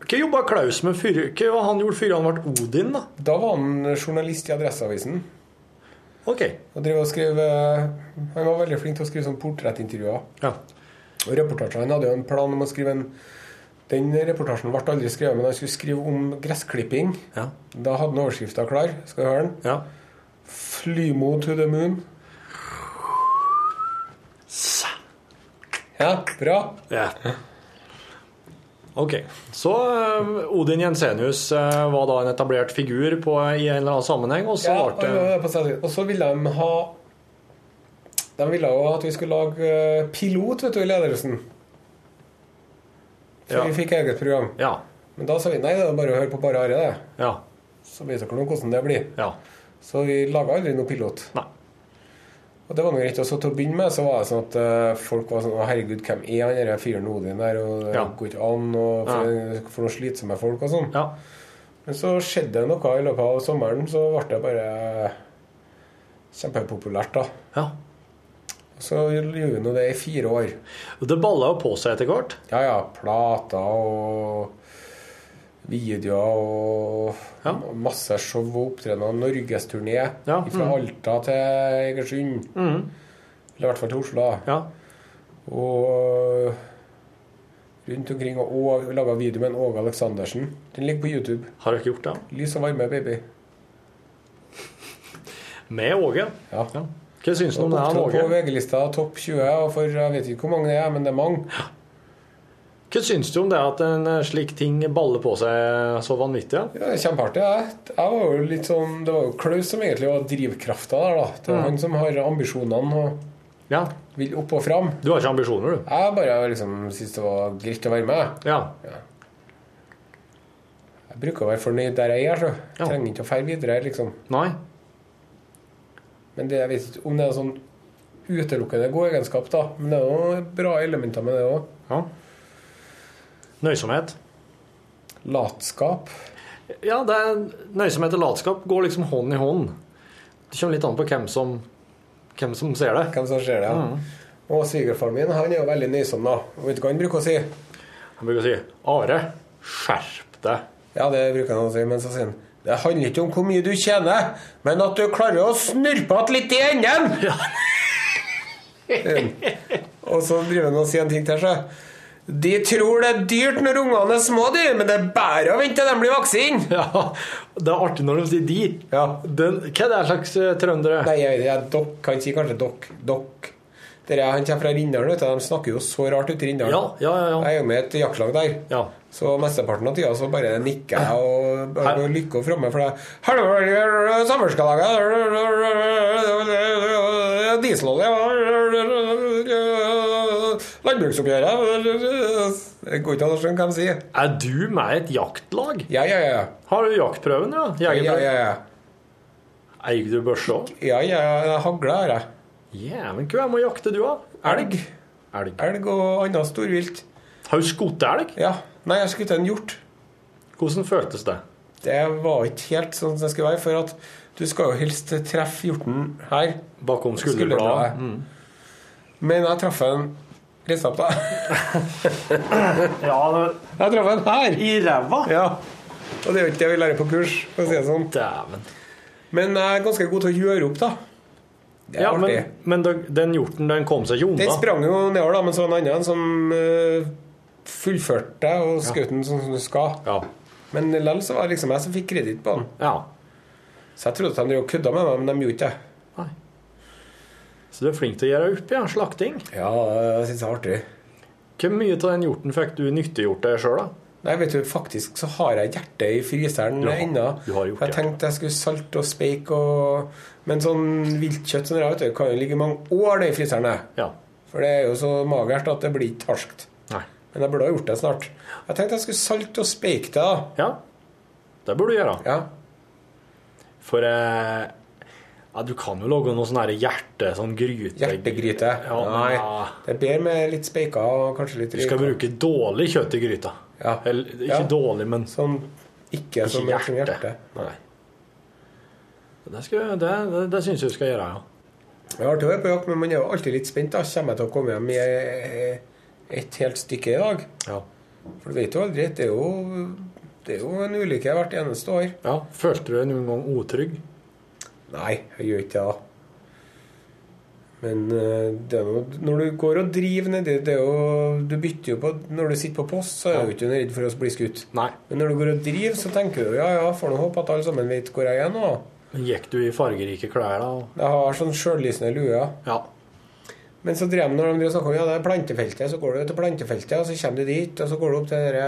[SPEAKER 5] Hva jobba Klaus med før Hva var han gjorde før han ble Odin, da?
[SPEAKER 3] Da var han journalist i Adresseavisen.
[SPEAKER 5] Ok.
[SPEAKER 3] Og drev og skrev eh, Han var veldig flink til å skrive sånn portrettintervjuer.
[SPEAKER 5] Ja.
[SPEAKER 3] Og reportasjer. Han hadde jo en plan om å skrive en Den reportasjen ble aldri skrevet, men han skulle skrive om gressklipping. Da hadde han overskrifta klar. Skal du høre den? Flymo to the moon. Ja, bra.
[SPEAKER 5] Ja. Ok. Så eh, Odin Jensenius eh, var da en etablert figur på, uh, i en eller annen sammenheng, og så
[SPEAKER 3] Ja,
[SPEAKER 5] ble
[SPEAKER 3] og-
[SPEAKER 5] det
[SPEAKER 3] og- på stedet. Og så ville de ha De ville jo at vi skulle lage eh, pilot vet du, i ledelsen. For
[SPEAKER 5] Ja.
[SPEAKER 3] vi fikk eget program. Men da sa vi nei, det er bare å høre på Bare Are, det. Så vet dere nå hvordan det blir. Så vi laga aldri noe pilot. Og det var noe greit. Og så til å begynne med så var det sånn at eh, folk var sånn Å, herregud, hvem er han der fyren Odin der? Og det
[SPEAKER 5] Ja.
[SPEAKER 3] går ikke an. Og for, for noen slitsomme folk og sånn. Men så skjedde det noe i løpet av sommeren, så ble det bare kjempepopulært, da. Og Så gjorde vi nå det i fire år.
[SPEAKER 5] Og det balla jo på seg etter hvert?
[SPEAKER 3] Ja, ja. Plater og videoer og masse show og opptredener. Norgesturné
[SPEAKER 5] Ja,
[SPEAKER 3] fra
[SPEAKER 5] mhm.
[SPEAKER 3] Alta til Egersund.
[SPEAKER 5] Mhm.
[SPEAKER 3] Eller i hvert fall til Oslo. da. Og rundt omkring. Og, og laga video med en Åge Aleksandersen. Den ligger på YouTube.
[SPEAKER 5] Har dere gjort det?
[SPEAKER 3] Lys og varme, baby.
[SPEAKER 5] Med Åge?
[SPEAKER 3] Ja.
[SPEAKER 5] Hva syns du om det, Sånn han
[SPEAKER 3] Opptrådt På
[SPEAKER 5] Åge?
[SPEAKER 3] VG-lista topp 20, og for jeg vet ikke hvor mange det er, men det er mange.
[SPEAKER 5] Hva syns du om det at en eh, slik ting baller på seg så vanvittig?
[SPEAKER 3] Ja, det er Kjempeartig. Jeg. jeg var jo litt sånn Det var jo Klaus som egentlig var drivkrafta der, da. Det
[SPEAKER 5] Mm.
[SPEAKER 3] var han som har ambisjonene og vil opp og fram.
[SPEAKER 5] Du har ikke ambisjoner, du?
[SPEAKER 3] Jeg bare liksom syntes det var greit å være med.
[SPEAKER 5] Ja.
[SPEAKER 3] Jeg bruker å være fornøyd der jeg er, så. Jeg trenger ikke å ferde videre, liksom.
[SPEAKER 5] Nei.
[SPEAKER 3] Men det, jeg vet ikke om det er en sånn utelukkende god egenskap, da. Men det er jo bra elementer med det òg.
[SPEAKER 5] Nøysomhet?
[SPEAKER 3] Latskap.
[SPEAKER 5] Ja, det er nøysomhet og latskap går liksom hånd i hånd. Det kommer litt an på hvem som, hvem som ser det.
[SPEAKER 3] Hvem som ser det, ja. Og svigerfaren min han er jo veldig nøysom, da. Og Vet du hva han bruker å si?
[SPEAKER 5] Han bruker å si 'Are, skjerp deg'.
[SPEAKER 3] Ja, det bruker han å si, men så sier han det handler ikke om hvor mye du tjener, men at du klarer å snurpe att litt i enden! og så driver han og sier en ting til seg. De tror det er dyrt når ungene er små, de, men det er bare å vente til de blir voksne!
[SPEAKER 5] Ja, det er artig når de sier 'de'. Den, hva er det slags eh, trøndere?
[SPEAKER 3] Nei, jeg vet ikke. Dokk. Han sier kanskje dokk. Dokk. Dere, han kommer fra Rindalen, vet du. De snakker jo så rart ute i Rindalen.
[SPEAKER 5] Ja, ja, ja, ja.
[SPEAKER 3] Jeg er jo med i et jaktlag der. Så mesteparten av tida så bare nikker jeg og bare går lykke og fromme for deg. Samfunnskalaget Dieselolje Landbruksoppgjøret Det går ikke an å skjønne hva de sier.
[SPEAKER 5] Er du med i et jaktlag?
[SPEAKER 3] Ja, ja, ja.
[SPEAKER 5] Har du jaktprøven, ja?
[SPEAKER 3] Ja,
[SPEAKER 5] Jegerprøven?
[SPEAKER 3] ja, ja.
[SPEAKER 5] Eier du børse òg?
[SPEAKER 3] Ja, ja, jeg hagler har jeg.
[SPEAKER 5] Jæven hva må jakte du av?
[SPEAKER 3] Elg.
[SPEAKER 5] Elg.
[SPEAKER 3] og annet storvilt.
[SPEAKER 5] Har du skutt elg?
[SPEAKER 3] Ja. Nei, jeg har skutt en hjort.
[SPEAKER 5] Hvordan føltes det?
[SPEAKER 3] Det var ikke helt sånn som det skulle være, for at du skal jo helst treffe hjorten her.
[SPEAKER 5] Bakom
[SPEAKER 3] Skulderbladet.
[SPEAKER 5] skulderbladet? Mm.
[SPEAKER 3] Men jeg traff en resept, da.
[SPEAKER 5] Ja, det...
[SPEAKER 3] Jeg traff en her!
[SPEAKER 5] I ræva?
[SPEAKER 3] Ja. Og det er jo ikke det vi lærer på kurs, for å si det sånn.
[SPEAKER 5] Dæven.
[SPEAKER 3] Men jeg er ganske god til å gjøre opp, da. Det er
[SPEAKER 5] Ja,
[SPEAKER 3] artig.
[SPEAKER 5] men, men da- den hjorten den kom seg ikke
[SPEAKER 3] Den
[SPEAKER 5] unna?
[SPEAKER 3] sprang jo nedover, da, men så var det en annen som eh, fullførte og skjøt den sånn som du skal.
[SPEAKER 5] Ja.
[SPEAKER 3] Men likevel så var det liksom jeg som fikk kreditt på den.
[SPEAKER 5] Ja.
[SPEAKER 3] Så jeg trodde at de drev og kødda med meg, men de gjorde ikke det.
[SPEAKER 5] Så du er flink til å gjøre opp, ja. Slakting.
[SPEAKER 3] Ja, jeg syns det er artig.
[SPEAKER 5] Hvor mye av den hjorten fikk du nyttiggjort deg sjøl, da?
[SPEAKER 3] Nei, vet du, faktisk så har jeg hjertet i fryseren
[SPEAKER 5] Du har-
[SPEAKER 3] ennå.
[SPEAKER 5] du har gjort
[SPEAKER 3] Jeg tenkte jeg skulle salte og speike og Men sånn viltkjøtt som det her, vet du, kan jo ligge mange år det i fryseren. det.
[SPEAKER 5] Ja.
[SPEAKER 3] For det er jo så magert at det blir ikke harskt.
[SPEAKER 5] Nei.
[SPEAKER 3] Men jeg burde ha gjort det snart. Jeg tenkte jeg skulle salte og speike det, da.
[SPEAKER 5] Ja. Det burde du gjøre.
[SPEAKER 3] Ja.
[SPEAKER 5] For eh, ja, du kan jo lage noe sånn her hjerte, sånn gryte
[SPEAKER 3] Hjertegryte.
[SPEAKER 5] Ja,
[SPEAKER 3] Nei. Det er bedre med litt speika og kanskje litt
[SPEAKER 5] Du skal
[SPEAKER 3] røyka.
[SPEAKER 5] bruke dårlig kjøtt i gryta.
[SPEAKER 3] Ja.
[SPEAKER 5] Eller ikke
[SPEAKER 3] Ja.
[SPEAKER 5] dårlig, men
[SPEAKER 3] Sånn ikke,
[SPEAKER 5] Ikke
[SPEAKER 3] så mye som hjerte.
[SPEAKER 5] Nei. Det, skal, det, det, det syns jeg du skal gjøre, ja.
[SPEAKER 3] Det er artig å være på jakt, men man er jo alltid litt spent. da. Kommer jeg til å komme hjem i eh, et helt stykke i dag?
[SPEAKER 5] ja.
[SPEAKER 3] For du vet jo aldri. Det er jo, det er jo en ulykke hvert eneste år.
[SPEAKER 5] Ja, Følte du deg noen gang utrygg?
[SPEAKER 3] Nei, jeg gjør ikke det. da. Men eh, det er noe, når du går og driver nedi det er jo, Du bytter jo på Når du sitter på post, så er du ikke redd for å bli skutt.
[SPEAKER 5] Nei.
[SPEAKER 3] Men når du går og driver, så tenker du ja, ja, får nå håpe at alle sammen vet hvor jeg er nå.
[SPEAKER 5] Men Gikk du i fargerike klær da? og-
[SPEAKER 3] Jeg har sånn sjøllysende lue. ja.
[SPEAKER 5] Ja.
[SPEAKER 3] Men så drev de når de drev og snakket om ja, det er plantefeltet, så går du til plantefeltet, og så kommer du dit, og så går du opp til dere,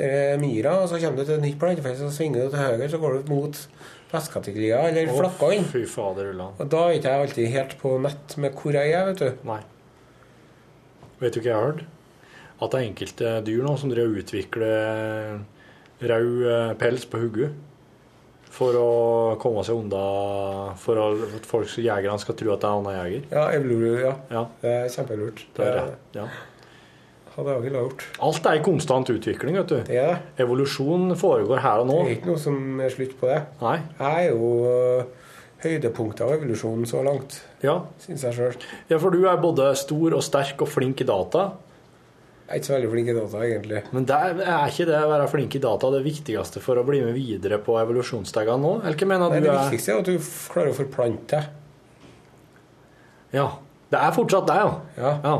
[SPEAKER 3] dere myra, og så kommer du til et nytt plantefelt, så svinger du til høyre, så går du mot Vestkategoria, eller
[SPEAKER 5] Å,
[SPEAKER 3] Flakkan.
[SPEAKER 5] Fy fader, Ulland.
[SPEAKER 3] Og da er ikke jeg alltid helt på nett med hvor jeg er, vet du.
[SPEAKER 5] Nei. Vet du hva jeg har hørt? At det er enkelte dyr nå som driver og utvikler rød eh, pels på hodet. For å komme seg unna For å, at folk, jegerne skal tro at det er annen jeger.
[SPEAKER 3] Ja, Evlorud, ja.
[SPEAKER 5] Ja,
[SPEAKER 3] Det er kjempelurt.
[SPEAKER 5] det er det.
[SPEAKER 3] Det
[SPEAKER 5] Ja.
[SPEAKER 3] hadde jeg aldri gjort.
[SPEAKER 5] Alt er i konstant utvikling, vet du.
[SPEAKER 3] Det er det.
[SPEAKER 5] Evolusjon foregår her og nå.
[SPEAKER 3] Det er ikke noe som er slutt på det.
[SPEAKER 5] Nei.
[SPEAKER 3] Jeg er jo øh, høydepunktet av evolusjonen så langt,
[SPEAKER 5] Ja.
[SPEAKER 3] synes jeg selv.
[SPEAKER 5] ja, for du er både stor og sterk og flink i data.
[SPEAKER 3] Jeg er ikke så veldig flink i data, egentlig.
[SPEAKER 5] Men det er er ikke det å være flink i data det viktigste for å bli med videre på evolusjonsstegene nå? Eller hva mener
[SPEAKER 3] Nei,
[SPEAKER 5] du
[SPEAKER 3] det
[SPEAKER 5] er
[SPEAKER 3] viktigste er at du f- klarer å forplante deg.
[SPEAKER 5] Ja. Det er fortsatt deg, ja.
[SPEAKER 3] Ja.
[SPEAKER 5] Ja.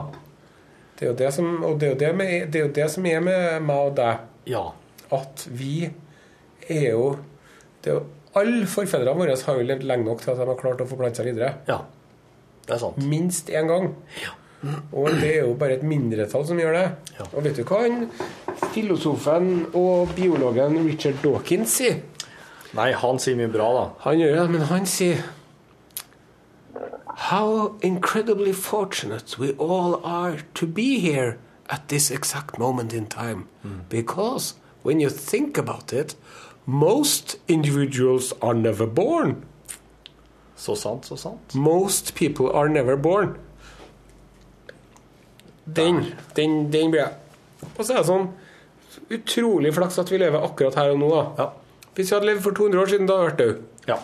[SPEAKER 3] Det er jo det som, og det er jo det, med, det er jo det som er med meg og deg,
[SPEAKER 5] ja.
[SPEAKER 3] at vi er jo det er jo Alle forfedrene våre har jo levd lenge nok til at de har klart å forplante seg videre.
[SPEAKER 5] Ja. Det er sant.
[SPEAKER 3] Minst én gang. Og det er jo bare et mindretall som gjør det.
[SPEAKER 5] Ja.
[SPEAKER 3] Og vet du hva han filosofen og biologen Richard Dawkins sier?
[SPEAKER 5] Nei, han sier mye bra, da.
[SPEAKER 3] Han gjør det, men han sier How incredibly fortunate we all are to be here at this exact moment in time. Because when you think about it, most individuals are never born.
[SPEAKER 5] Så sant, så sant.
[SPEAKER 3] Most people are never born. Den, den, den blir jeg. Og så er det sånn utrolig flaks at vi lever akkurat her og nå. Da. Hvis vi hadde levd for 200 år siden, da hadde vi vært døde.
[SPEAKER 5] Ja.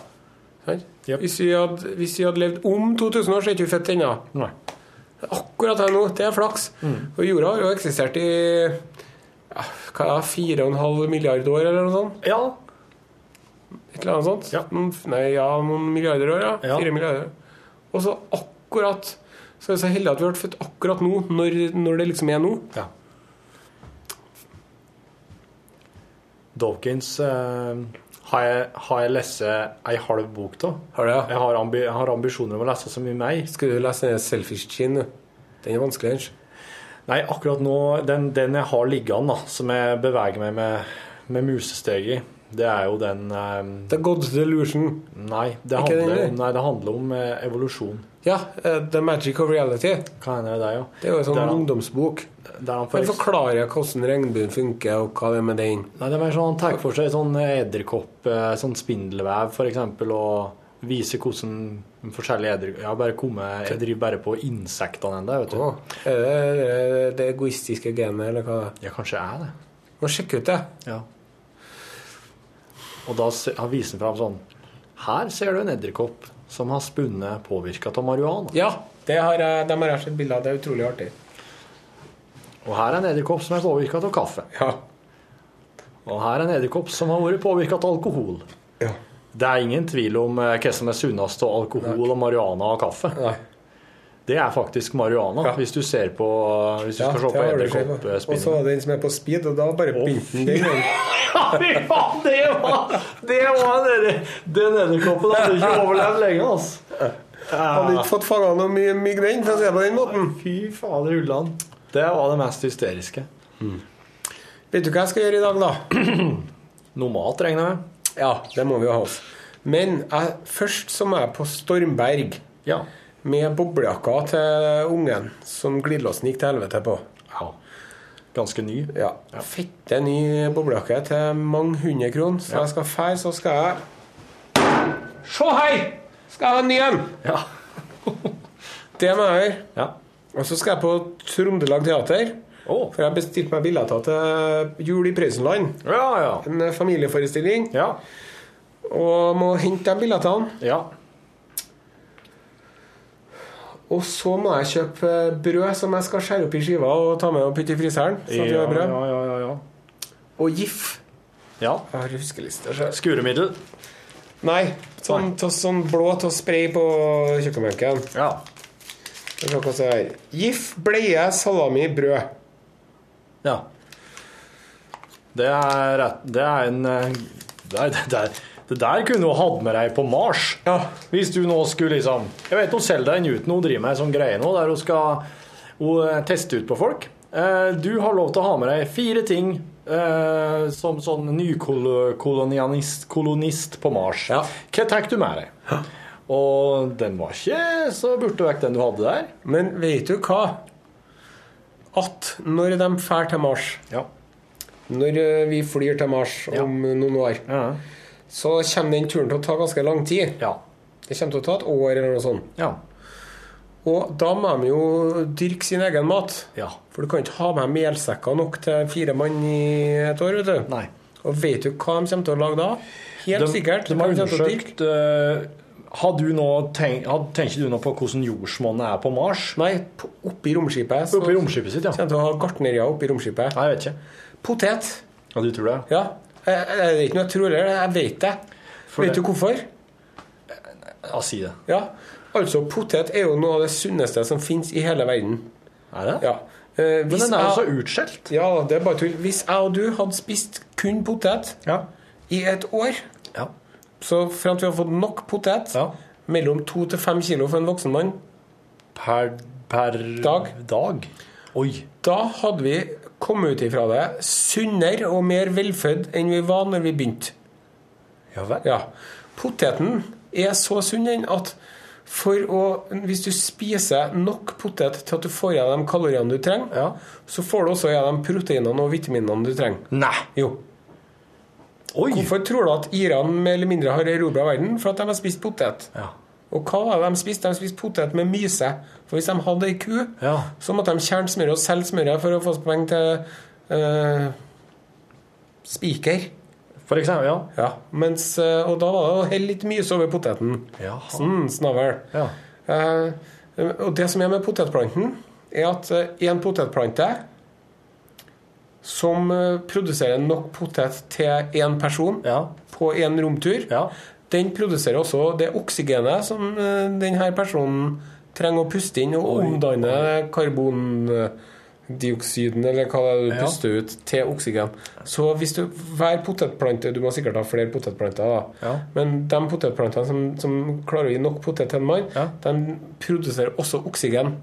[SPEAKER 3] Sant? Hvis, vi hadde, hvis vi hadde levd om 2000 år, så er vi ikke født ennå.
[SPEAKER 5] Nei.
[SPEAKER 3] Akkurat her nå. Det er flaks. Og jorda har jo eksistert i ja, hva er det, 4,5 milliarder år, eller noe sånt?
[SPEAKER 5] Ja.
[SPEAKER 3] Et eller annet sånt? Noen, nei, ja, noen milliarder år, ja. Fire milliarder. Og så akkurat Så er vi så heldige at vi ble født akkurat nå, når, når det liksom er nå.
[SPEAKER 5] Dawkins eh, har, jeg, har jeg lest ei halv bok av.
[SPEAKER 3] Har du det?
[SPEAKER 5] Jeg har, ambi, jeg har ambisjoner om å lese så mye mer.
[SPEAKER 3] Skal du lese den 'Selfish Chin'? Den er vanskelig, ikke?
[SPEAKER 5] Nei, akkurat nå Den, den jeg har liggende, da, som jeg beveger meg med, med musesteg i, det er jo den eh,
[SPEAKER 3] The God's Delusion.
[SPEAKER 5] Nei, det
[SPEAKER 3] Ikke den,
[SPEAKER 5] handler,
[SPEAKER 3] eller?
[SPEAKER 5] om, nei, det handler om eh, evolusjon.
[SPEAKER 3] Ja, eh, 'The Magic of Reality'.
[SPEAKER 5] Hva er det der, ja?
[SPEAKER 3] Det er jo en sånn
[SPEAKER 5] Der han-
[SPEAKER 3] ungdomsbok.
[SPEAKER 5] Der han
[SPEAKER 3] Den
[SPEAKER 5] får
[SPEAKER 3] forklarer hvordan regnbuen funker, og hva det er med den.
[SPEAKER 5] Nei, det er mer sånn han tar for seg sånn edderkopp, eh, sånn spindelvev for eksempel, og viser hvordan de forskjellige edder... Jeg, har bare kommet, jeg driver bare på insektene ennå, vet du.
[SPEAKER 3] Er det er det det egoistiske genet, eller hva det
[SPEAKER 5] Ja, kanskje jeg er det.
[SPEAKER 3] er? Må sjekke ut det.
[SPEAKER 5] Ja. Og da se- han viser han fram sånn Her ser du en edderkopp som har spunnet påvirka av marihuana.
[SPEAKER 3] Ja, det har jeg, dem har jeg sett bilder av. Det er utrolig artig.
[SPEAKER 5] Og her er en edderkopp som er påvirka av kaffe. Og her er en edderkopp som har vært påvirka av alkohol. Det er ingen tvil om eh, hva som er sunnest av alkohol og marihuana og kaffe. Det er faktisk marihuana, hvis du ser på Hvis du skal se på eh,
[SPEAKER 3] har du sett, da. Og så
[SPEAKER 5] edderkoppspinnet.
[SPEAKER 3] var det den som er på speed, og da bare begynte den. den.
[SPEAKER 5] Fy faen, det var Det var den, den edderkoppen hadde ikke overlevd lenge, altså.
[SPEAKER 3] Hadde ikke fått fanget noe mye migren, for å si det på den måten.
[SPEAKER 5] Fy fader, Ulland. Det var det mest hysteriske.
[SPEAKER 3] Vet du hva jeg skal gjøre i dag, da?
[SPEAKER 5] Noe mat, regner jeg med?
[SPEAKER 3] Ja, det må vi jo ha oss. Men jeg, først så må jeg på Stormberg
[SPEAKER 5] Ja.
[SPEAKER 3] med boblejakka til ungen som glidelåsen gikk til helvete på.
[SPEAKER 5] ja. Ganske ny.
[SPEAKER 3] Ja. Fette ny boblejakke til mange hundre kroner. Så jeg skal fære, så skal jeg Se her! Skal jeg ha en ny en?
[SPEAKER 5] Ja.
[SPEAKER 3] Det må jeg gjøre.
[SPEAKER 5] Ja.
[SPEAKER 3] Og så skal jeg på Trondelag Teater.
[SPEAKER 5] Å.
[SPEAKER 3] For jeg bestilte meg billetter til Jul i Prøysenland.
[SPEAKER 5] Ja, ja.
[SPEAKER 3] En familieforestilling.
[SPEAKER 5] Ja.
[SPEAKER 3] Og må hente de billettene.
[SPEAKER 5] ja.
[SPEAKER 3] Og så må jeg kjøpe brød som jeg skal skjære opp i skiver og ta med og putte i fryseren. Så at vi har
[SPEAKER 5] ja,
[SPEAKER 3] brød.
[SPEAKER 5] ja, ja, ja, ja.
[SPEAKER 3] Og gif.
[SPEAKER 5] Ja.
[SPEAKER 3] Jeg har huskeliste. så-
[SPEAKER 5] Skuremiddel.
[SPEAKER 3] Nei, sånn, til- sånn blå til å spraye på kjøkkenbenken.
[SPEAKER 5] Ja.
[SPEAKER 3] Skal vi se hva som er her. Gif, bleie, salami, brød.
[SPEAKER 5] ja. Det er rett Det er en eh, Det, er, det, der, det der kunne du hatt med deg på Mars.
[SPEAKER 3] Ja.
[SPEAKER 5] Hvis du nå skulle liksom Jeg vet hun Selda Newton hun driver med ei sånn greie nå der hun skal hun eh, teste ut på folk. Eh, Du har lov til å ha med deg fire ting eh, som sånn nykolonialist kolonist på Mars. Hva tar du med deg? Og den var ikke så borte vekk, den du hadde der.
[SPEAKER 3] Men vet du hva? At når de drar til Mars
[SPEAKER 5] Ja.
[SPEAKER 3] Når eh, vi flyr til Mars om noen år, så kommer den turen til å ta ganske lang tid.
[SPEAKER 5] Ja.
[SPEAKER 3] Det kommer til å ta et år eller noe sånt.
[SPEAKER 5] Ja.
[SPEAKER 3] Og da må de jo dyrke sin egen mat.
[SPEAKER 5] ja.
[SPEAKER 3] For du kan ikke ha med melsekker nok til fire mann i et år, vet du.
[SPEAKER 5] Nei.
[SPEAKER 3] Og vet du hva de kommer til å lage da? Helt sikkert.
[SPEAKER 5] De, de har
[SPEAKER 3] hva kommer til å dyrke.
[SPEAKER 5] undersøkt eh, har du nå tenk, har, Tenker du nå på hvordan jordsmonnet er på Mars?
[SPEAKER 3] Nei, altså- på- oppi romskipet. Så
[SPEAKER 5] Oppe i romskipet sitt, ja.
[SPEAKER 3] Kommer til å ha gartnerier oppi romskipet.
[SPEAKER 5] Nei, jeg vet ikke.
[SPEAKER 3] Potet.
[SPEAKER 5] Ja, du tror det?
[SPEAKER 3] Ja. Jeg, jeg vet ikke noe jeg tror det. Jeg vet det.
[SPEAKER 5] det-
[SPEAKER 3] vet du hvorfor?
[SPEAKER 5] Ja, si det.
[SPEAKER 3] Ja. Altså, potet er jo noe av det sunneste som finnes i hele verden.
[SPEAKER 5] Er det?
[SPEAKER 3] Ja. Eh,
[SPEAKER 5] Men
[SPEAKER 3] hvis
[SPEAKER 5] den er altså jo så
[SPEAKER 3] jeg-
[SPEAKER 5] utskjelt.
[SPEAKER 3] Ja, det er bare tull. Hvis jeg og du hadde spist kun potet
[SPEAKER 5] Ja.
[SPEAKER 3] i et år,
[SPEAKER 5] Ja.
[SPEAKER 3] så frem til vi har fått nok potet,
[SPEAKER 5] Ja.
[SPEAKER 3] mellom to til fem kilo for en voksen mann,
[SPEAKER 5] Per, per
[SPEAKER 3] Dag.
[SPEAKER 5] dag. Oi.
[SPEAKER 3] da hadde vi kommet ut ifra det sunnere og mer velfødd enn vi var når vi begynte.
[SPEAKER 5] Ja vel.
[SPEAKER 3] Ja. Poteten er så sunn den at for å, hvis du spiser nok potet til at du får i deg de kaloriene du trenger,
[SPEAKER 5] Ja.
[SPEAKER 3] så får du også i deg de proteinene og vitaminene du trenger.
[SPEAKER 5] Nei.
[SPEAKER 3] Jo.
[SPEAKER 5] Oi.
[SPEAKER 3] Hvorfor tror du at Iran mer eller mindre har erobra verden? For at de har spist potet.
[SPEAKER 5] Ja.
[SPEAKER 3] Og hva var det de spiste? De spiste potet med myse. For hvis de hadde ei ku,
[SPEAKER 5] Ja.
[SPEAKER 3] så måtte de kjerne smøret og selge smøret for å få penger til eh, Spiker.
[SPEAKER 11] For eksempel, ja.
[SPEAKER 3] mens, eh, og da var det å helle litt mye over poteten. Sånn, snavel. Eh, og det som er med potetplanten, er at eh, en potetplante som eh, produserer nok potet til én person på én romtur, den produserer også det oksygenet som eh, denne personen trenger å puste inn og omdanne karbondioksiden, eller hva det er du
[SPEAKER 1] Ja.
[SPEAKER 3] puster ut, til oksygen. Så hvis du hver potetplante Du må sikkert ha flere potetplanter, da. Men de potetplantene som, som klarer å gi nok potet til en mann, de produserer også oksygen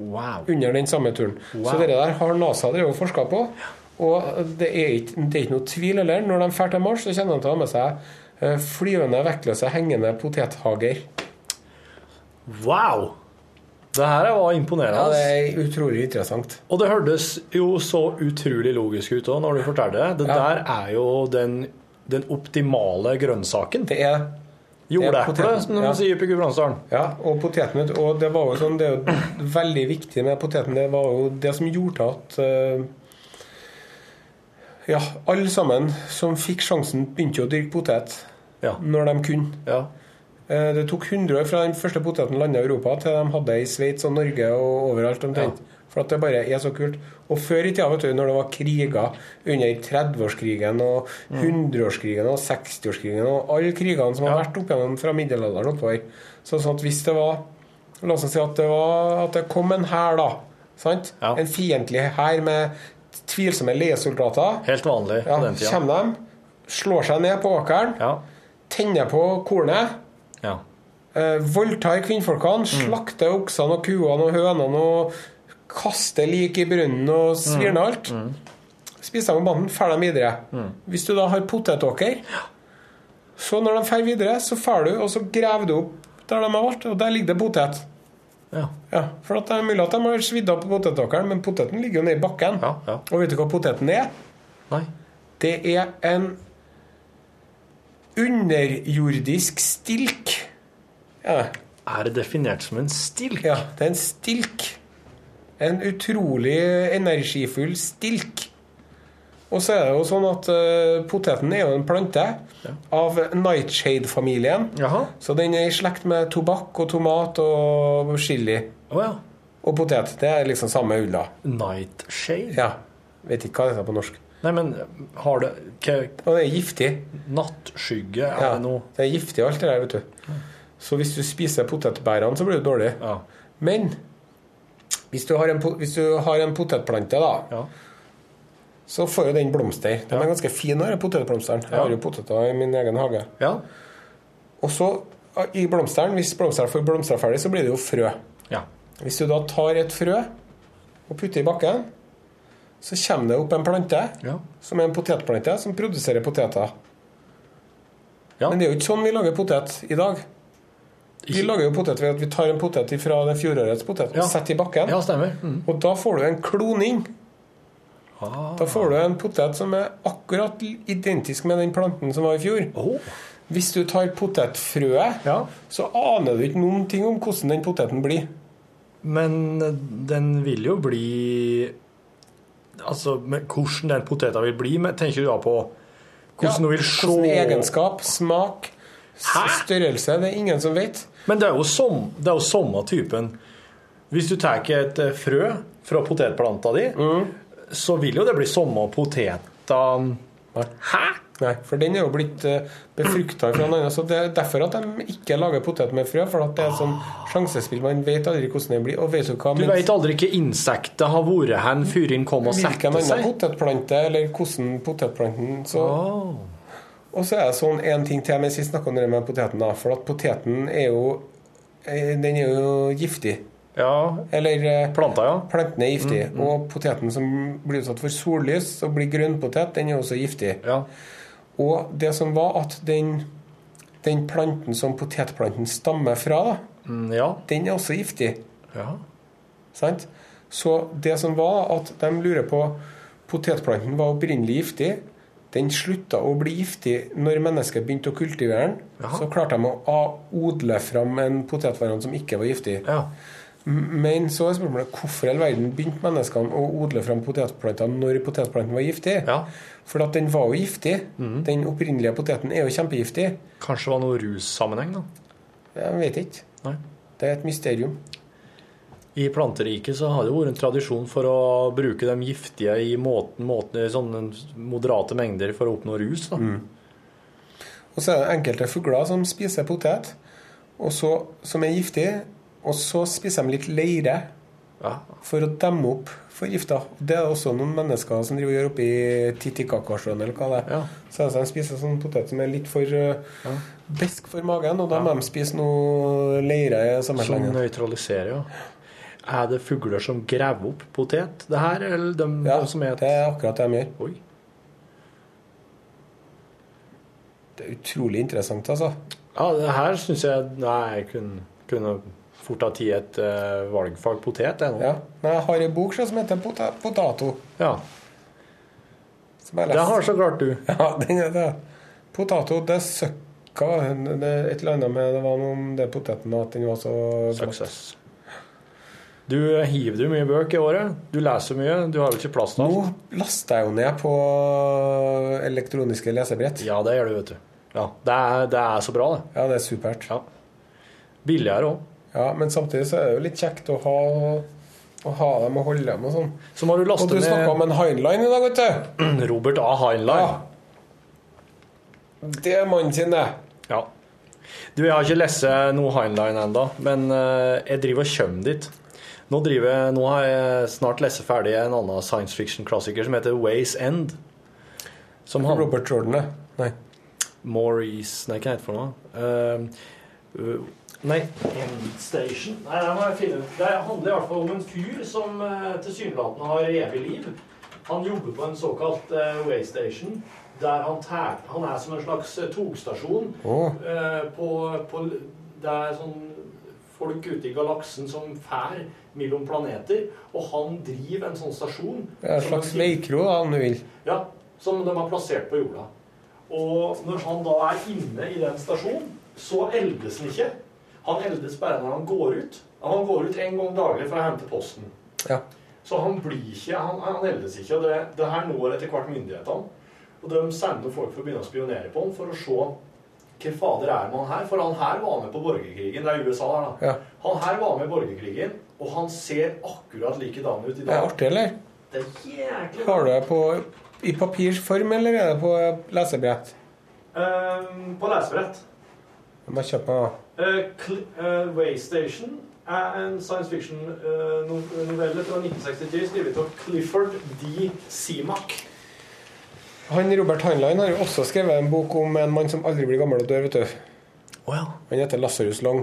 [SPEAKER 11] Wow.
[SPEAKER 3] under den samme turen.
[SPEAKER 11] Wow.
[SPEAKER 3] Så det der har NASA drevet og forska på. Og det er, ikke, det er ikke noe tvil heller. Når de drar til Mars, så kommer de til å ha med seg eh, flyvende, vektløse, hengende potethager.
[SPEAKER 11] Wow! Det her var imponerende.
[SPEAKER 3] Ja, det er utrolig interessant.
[SPEAKER 11] Og det hørtes jo så utrolig logisk ut òg, når du fortalte det. Det der er jo den, den optimale grønnsaken.
[SPEAKER 3] Det er
[SPEAKER 11] Jordeple,
[SPEAKER 3] poteten,
[SPEAKER 11] som de
[SPEAKER 3] ja.
[SPEAKER 11] sier oppe i Gudbrandsdalen.
[SPEAKER 3] Ja, og poteten vet du, Og det var jo sånn, det er jo veldig viktig med poteten. Det var jo det som gjorde at eh, Ja, alle sammen som fikk sjansen, begynte jo å dyrke potet når de kunne. Eh, Det tok 100 år fra den første poteten landa i Europa, til de hadde det i Sveits og Norge og overalt omtrent. For at det bare er så kult. Og før i tida, vet du, når det var kriger under 30-årskrigen og
[SPEAKER 11] Mm.
[SPEAKER 3] 100-årskrigen og 60-årskrigen og alle krigene som har vært opp gjennom fra middelalderen oppover Så sånn at hvis det var La oss si at det, var, at det kom en hær, da. Sant? En fiendtlig hær med tvilsomme leiesoldater.
[SPEAKER 11] Helt vanlig
[SPEAKER 3] Ja,
[SPEAKER 11] på den tida.
[SPEAKER 3] Kommer de, slår seg ned på åkeren, tenner på kornet,
[SPEAKER 11] Ja.
[SPEAKER 3] eh, voldtar kvinnfolkene, slakter oksene og kuene og hønene og kaster lik i brunnen og svir ned alt. Spiser dem på banden, drar dem videre. Hvis du da har potetåker, så når de drar videre, så drar du og så graver du opp der de har vært, og der ligger det potet.
[SPEAKER 11] Ja.
[SPEAKER 3] for at det er mulig at de har svidd av på potetåkeren, men poteten ligger jo nede i bakken. Og vet du hva poteten er?
[SPEAKER 11] Nei.
[SPEAKER 3] Det er en underjordisk stilk.
[SPEAKER 11] Er det definert som en stilk?
[SPEAKER 3] Ja, det er en stilk. En utrolig energifull stilk. Og så er det jo sånn at eh, poteten er jo en plante av nightshade-familien. Så den er i slekt med tobakk og tomat og chili. Og potet. Det er liksom samme ulla.
[SPEAKER 11] Nightshade?
[SPEAKER 3] Ja. Vet ikke hva det heter på norsk.
[SPEAKER 11] Nei, men har det
[SPEAKER 3] Og det er giftig.
[SPEAKER 11] Nattskygge, er
[SPEAKER 3] Ja,
[SPEAKER 11] det noe
[SPEAKER 3] det er giftig alt det der, vet du. Så hvis du spiser potetbærene, så blir du dårlig. Men hvis du har en, po- hvis du har en potetplante, da, så får jo den blomster. Den er ganske fin, den potetblomsteren. Jeg har jo poteter i min egen hage. Og så ah, i blomsteren, hvis blomsteren får blomstra ferdig, så blir det jo frø.
[SPEAKER 11] Ja.
[SPEAKER 3] Hvis du da tar et frø og putter i bakken, så kommer det opp en plante som er en potetplante som produserer poteter. Men det er jo ikke sånn vi lager potet i dag. Vi lager jo potet ved at vi tar en potet fra den fjorårets potet og setter i bakken.
[SPEAKER 11] Mm.
[SPEAKER 3] Og da får du en kloning.
[SPEAKER 11] Ah.
[SPEAKER 3] Da får du en potet som er akkurat l- identisk med den planten som var i fjor. Hvis du tar potetfrøet, så aner du ikke noen ting om hvordan den poteten blir.
[SPEAKER 11] Men den vil jo bli Altså, men hvordan den poteta vil bli, men tenker du da på hvordan
[SPEAKER 3] Ja,
[SPEAKER 11] du vil se
[SPEAKER 3] hvordan egenskap, smak, størrelse Det er ingen som vet.
[SPEAKER 11] Men det er jo, som, det er jo samme typen. Hvis du tar et eh, frø fra potetplanta di,
[SPEAKER 3] Mm.
[SPEAKER 11] så vil jo det bli samme poteta
[SPEAKER 3] Hæ?! Nei, for den er jo blitt befrukta fra en annen. Så det er derfor at de ikke lager potet med frø. For at det er et sånn sjansespill. Man vet aldri hvordan den blir. Og vet du hva
[SPEAKER 11] Du veit aldri hvilke insekter har vært hen før den kom og
[SPEAKER 3] Hvilken
[SPEAKER 11] satte
[SPEAKER 3] annen
[SPEAKER 11] seg. Ah.
[SPEAKER 3] potetplante, eller hvordan potetplanten så Og så er det sånn en ting til mens vi snakker om det med poteten, da. For at poteten er jo eh, Den er jo giftig. Eller eh, Planten er giftig.
[SPEAKER 11] Mm, mm.
[SPEAKER 3] Og poteten som blir utsatt for sollys og blir grønnpotet, den er også giftig. Og det som var at den, den planten som potetplanten stammer fra, da,
[SPEAKER 11] Mm,
[SPEAKER 3] den er også giftig. Sant? Så det som var at de lurer på Potetplanten var opprinnelig giftig. Den slutta å bli giftig når mennesket begynte å kultivere den. Så klarte de å a- odle fram en potetvariant som ikke var giftig. Men så er spørsmålet hvorfor i all verden begynte menneskene å odle fram potetplanter når potetplanten var giftig? For at den var jo giftig. Den opprinnelige poteten er jo kjempegiftig.
[SPEAKER 5] Kanskje det var noe russammenheng, da?
[SPEAKER 3] Jeg vet ikke.
[SPEAKER 5] Nei.
[SPEAKER 3] Det er et mysterium.
[SPEAKER 5] I planteriket så har det vært en tradisjon for å bruke de giftige i måten, måten, i sånne moderate mengder for å oppnå rus. Da.
[SPEAKER 3] Mm. Og så er det enkelte fugler som spiser potet, og så, som er giftige, og så spiser de litt leire for å demme opp for gifta. Det er det også noen mennesker som driver og gjør oppe i Titicacasjøen eller hva det er. Så er det sånn, de spiser sånn potet som er litt for eh, besk for magen, og da må de spise noe leire i
[SPEAKER 5] Som
[SPEAKER 3] samme
[SPEAKER 5] nøytraliserer, ja. Er det fugler som graver opp potet, det her, eller de, de som er
[SPEAKER 3] Det er akkurat det de gjør.
[SPEAKER 5] Oi.
[SPEAKER 3] Det er utrolig interessant, altså.
[SPEAKER 5] Ja, det her syns jeg Nei, jeg kunne, kunne fort ha tatt et eh, valgfag potet, jeg nå.
[SPEAKER 3] Men jeg har ei bok så, som heter Pota- Potato.
[SPEAKER 5] Ja. Det har så klart du.
[SPEAKER 3] Ja, den er det. Potato, det søkka det, er Et eller annet med det var noe om det poteten at den var så flott.
[SPEAKER 5] Success. Du hiver du mye bøker i året. Du leser mye. Du har jo ikke plass til alt.
[SPEAKER 3] Nå laster jeg jo ned på elektroniske lesebrett.
[SPEAKER 5] Ja, det gjør du, vet du. Ja, det er, det er så bra, det.
[SPEAKER 3] Ja, det er supert.
[SPEAKER 5] Billigere òg.
[SPEAKER 3] Ja, men samtidig så er det jo litt kjekt å ha, å ha dem og holde dem og sånn.
[SPEAKER 5] Så må du laste
[SPEAKER 3] Og du
[SPEAKER 5] ned-
[SPEAKER 3] snakka om en Heinlein i dag, vet du.
[SPEAKER 5] Robert A. Heinlein.
[SPEAKER 3] Det er mannen sin, det.
[SPEAKER 5] Ja. Du, jeg har ikke lest noe Heinlein ennå, men eh, jeg driver og kommer dit. Nå, driver, jeg- nå har jeg snart lest ferdig en annen science fiction-klassiker som heter Ways End. Som han-
[SPEAKER 3] Robert Jordan, det. Nei.
[SPEAKER 5] Maurice Nei, hva heter det for noe? Eh, uh, nei.
[SPEAKER 12] End Station. Nei, det må jeg finne ut. Det handler i hvert fall om en fyr som eh, tilsynelatende har evig liv. Han jobber på en såkalt eh, waystation, der han tær... Han er som en slags eh, togstasjon
[SPEAKER 3] Åh.
[SPEAKER 12] eh, på, på Det er sånn folk ute i galaksen som fær mellom planeter, og han driver en sånn stasjon.
[SPEAKER 3] Det er en
[SPEAKER 12] som
[SPEAKER 3] slags
[SPEAKER 12] de-
[SPEAKER 3] leikro, da, om du vil.
[SPEAKER 12] ja, som de har plassert på jorda. Og når han da er inne i den stasjonen, så eldes han ikke. Han eldes bare når han går ut. Han går ut en gang daglig for å hente posten.
[SPEAKER 3] Ja.
[SPEAKER 12] Så han blir ikke, han, han eldes ikke. Og det, det her når etter hvert myndighetene. Og de sender folk for å begynne å spionere på ham for å se hva fader er man her? For han her var med på borgerkrigen. Det er USA her, da.
[SPEAKER 3] Ja.
[SPEAKER 12] Han her var med i borgerkrigen, og han ser akkurat likedan ut i dag.
[SPEAKER 3] Det er artig, eller?
[SPEAKER 12] Det er jæklig
[SPEAKER 3] Har du det på, i papirsform, eller er det på lesebrett?
[SPEAKER 12] Ehm, på lesebrett.
[SPEAKER 3] Jeg må kjøpe meg
[SPEAKER 12] Eh, Cl- eh, Waystation er en science fiction-novelle fra 1963 skrevet av Clifford D. Seamak.
[SPEAKER 3] Han Robert Heinlein har jo også skrevet en bok om en mann som aldri blir gammel og dør, vet du. Han heter Lasarus Lang.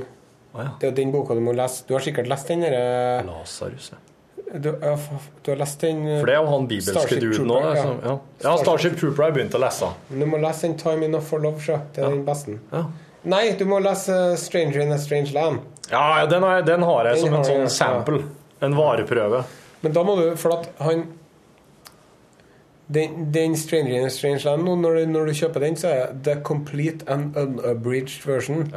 [SPEAKER 3] Det er den boka du må lese. Du har sikkert lest den derre
[SPEAKER 5] Lasarus, ja.
[SPEAKER 3] Du, ja, f- du har lest den
[SPEAKER 5] For det er jo han bibelske duden òg. Ja. Ja. ja, Starship Trooper har jeg begynt å lese.
[SPEAKER 3] Du må lese den Time Enough for Love, sjø. Det er den beste.
[SPEAKER 5] Ja.
[SPEAKER 3] Nei, du må lese eh, Stranger in a Strange Land.
[SPEAKER 5] Ja, ja, den har jeg, den har jeg
[SPEAKER 3] Den
[SPEAKER 5] som
[SPEAKER 3] har
[SPEAKER 5] en
[SPEAKER 3] du, ja.
[SPEAKER 5] sånn sample. En vareprøve.
[SPEAKER 3] Men da må du For at han den, den Stranger in a Strange Land nå, når, du, når du kjøper den, så er det the complete and unabridged version.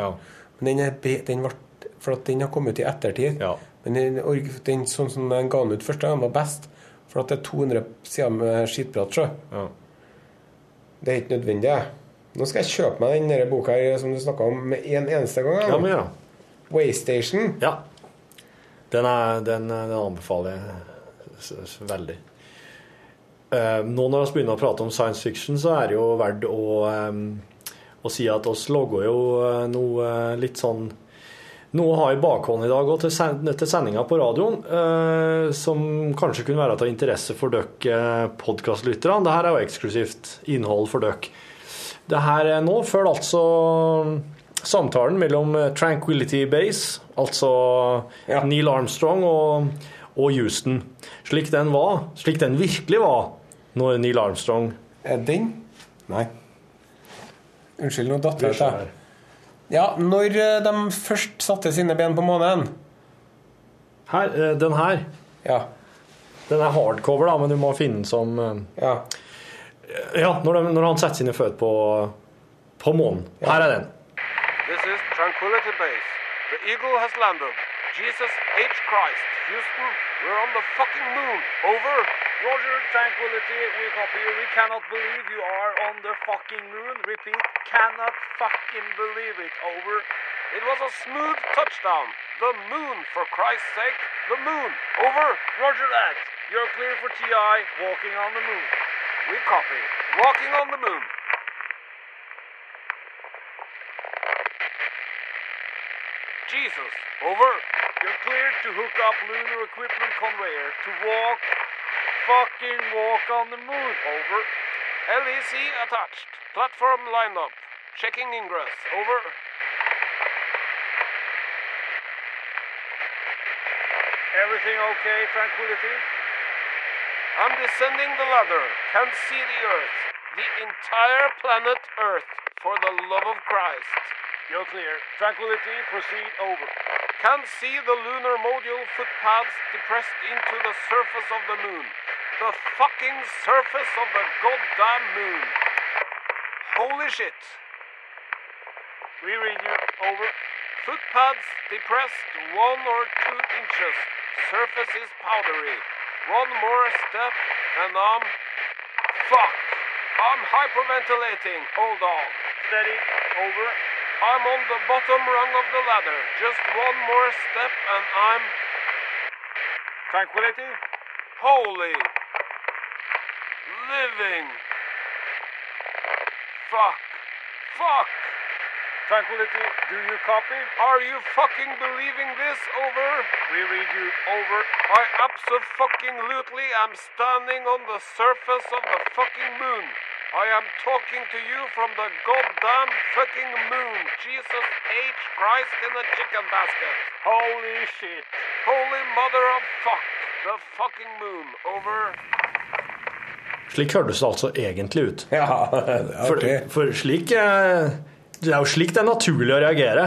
[SPEAKER 3] Men den er be- den ble For at den har kommet ut i ettertid. Men den, org- den sånn som den ga den ut første gang, var best. For at det er 200 sider med skitprat, sjø. Det er ikke nødvendig. Nå skal jeg kjøpe meg den der boka her som du snakka om, med en eneste gang.
[SPEAKER 5] Ja, men gjør det.
[SPEAKER 3] Waystation.
[SPEAKER 5] Ja. Den, er, den, den anbefaler jeg s- s- veldig. Eh, nå når vi begynner å prate om science fiction, så er det jo verdt å, eh, å si at oss logger jo eh, noe eh, litt sånn Noe å ha i bakhånd i dag og til, sen- til sendinga på radioen, eh, som kanskje kunne være av interesse for dere eh, podkastlytterne. Dette er jo eksklusivt innhold for dere. Det her eh, nå følger altså samtalen mellom eh, Tranquility Base, altså Neil Armstrong og, og Houston, slik den var, slik den virkelig var når Neil Armstrong
[SPEAKER 3] Er den? Nei. Unnskyld, nå datt jeg ut. jeg. Ja, når eh, de først satte sine ben på månen
[SPEAKER 5] Her, eh, den her. Den er hardcover, da, men du må finne den som eh,
[SPEAKER 3] Ja,
[SPEAKER 5] når, de, når han setter sine føtter på, på månen. Her er den.
[SPEAKER 13] This is Tranquility Base. The Eagle has landed.
[SPEAKER 3] Jesus H. Christ. Houston, we're on the fucking moon. Over. Roger, tranquility, we copy you. We cannot believe you are on the fucking moon. Repeat, cannot fucking believe it. Over. It was a smooth touchdown. The moon, for Christ's sake. The moon. Over. Roger that. You're clear for TI, walking on the moon. We copy. Walking on the moon. Jesus, over. You're cleared to hook up lunar equipment conveyor to walk, fucking walk on the moon. Over. LEC attached. Platform lineup. Checking ingress. Over. Everything okay, tranquility? I'm descending the ladder. Can see the Earth. The entire planet Earth. For the love of Christ. You're clear. Tranquility, proceed over. Can see the lunar module footpads depressed into the surface of the moon. The fucking surface of the goddamn moon. Holy shit. We read you. Over. Footpads depressed one or two inches. Surface is powdery. One more step and I'm. Fuck! I'm hyperventilating. Hold on. Steady. Over. I'm on the bottom rung of the ladder. Just one more step and I'm. Tranquility? Holy. Living. Fuck. Fuck. Tranquility, do you copy? Are you fucking believing this? Over. We read you. Over. I absolutely am standing on the surface of the fucking moon. I am talking to you from the goddamn fucking moon. Jesus H. Christ in a chicken basket. Holy shit. Holy mother of fuck. The fucking moon. Over.
[SPEAKER 5] Slik hørtes det altså egentlig ut. for,
[SPEAKER 14] artig.
[SPEAKER 5] for slik eh, Det er jo slik det er naturlig å reagere.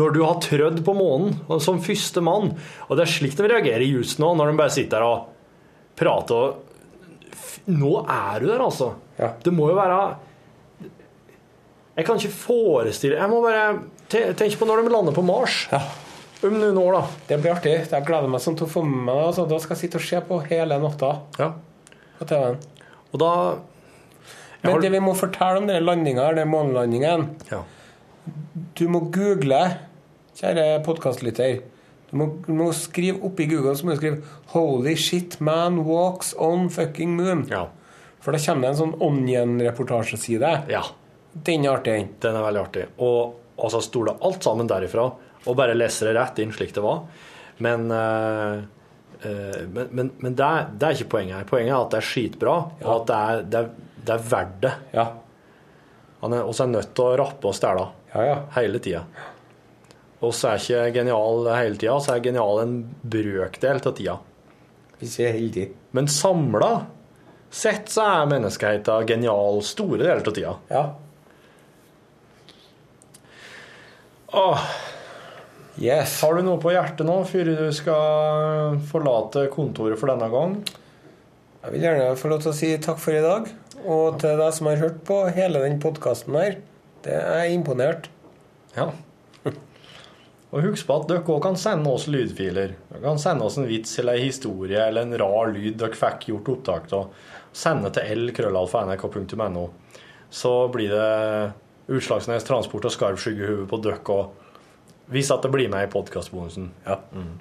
[SPEAKER 5] Når du har trødd på månen og som første mann. Og det er slik de reagerer i just nå, når de bare sitter der og prater og F- Nå er du der, altså. Det må jo være Jeg kan ikke forestille Jeg må bare te- tenke på når de lander på Mars. Om noen år, da.
[SPEAKER 9] Det blir artig. Jeg gleder meg sånn til å få med meg det. Altså. Da skal jeg sitte og se på hele natta på TV-en.
[SPEAKER 5] Og da
[SPEAKER 9] Men det vi må fortelle om den landinga, den månelandingen Du må google, kjære podkastlytter du må, du må skrive oppi Google så må du skrive 'Holy shit, man walks on fucking moon'. For da kommer det en sånn Onion-reportasjeside. Den er artig.
[SPEAKER 5] Den er veldig artig. Og altså stole alt sammen derifra, og bare lese det rett inn slik det var. Men eh, eh, men, men, men det, er, det er ikke poenget her. Poenget er at det er skitbra, og at det er, det er, det er verdt det.
[SPEAKER 9] Ja.
[SPEAKER 5] Han er også nødt til å rappe og stæle hele tida. Og så er ikke genial hele tida, så er genial en brøkdel av tida.
[SPEAKER 9] Hvis vi er heldige.
[SPEAKER 5] Men samla sett så er menneskeheten genial store deler av tida.
[SPEAKER 9] Ja.
[SPEAKER 5] Åh.
[SPEAKER 9] Yes.
[SPEAKER 5] Har du noe på hjertet nå før du skal forlate kontoret for denne gang?
[SPEAKER 9] Jeg vil gjerne få lov til å si takk for i dag. Og til deg som har hørt på hele den podkasten her. Det er jeg imponert.
[SPEAKER 5] Ja. Og husk på at dere også kan sende oss lydfiler. Dere kan sende oss en vits eller en historie eller en rar lyd dere fikk gjort opptak av. Sende til lkrøllalfa.nrk.no. Så blir det Utslagsnes Transport og Skarv Skyggehue på dere òg. Hvis at det blir med i podkastbonusen. Ja. Mm.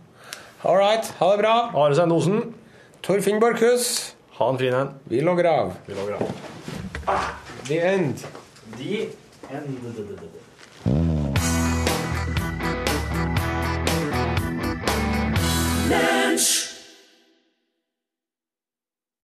[SPEAKER 9] All right. Ha det bra.
[SPEAKER 5] Are Sendosen.
[SPEAKER 9] Torfinn Borchhus.
[SPEAKER 5] Ha en fin en.
[SPEAKER 9] Vi logger av.
[SPEAKER 5] Vi logger av.
[SPEAKER 9] The end.
[SPEAKER 5] De endede
[SPEAKER 15] Nerd.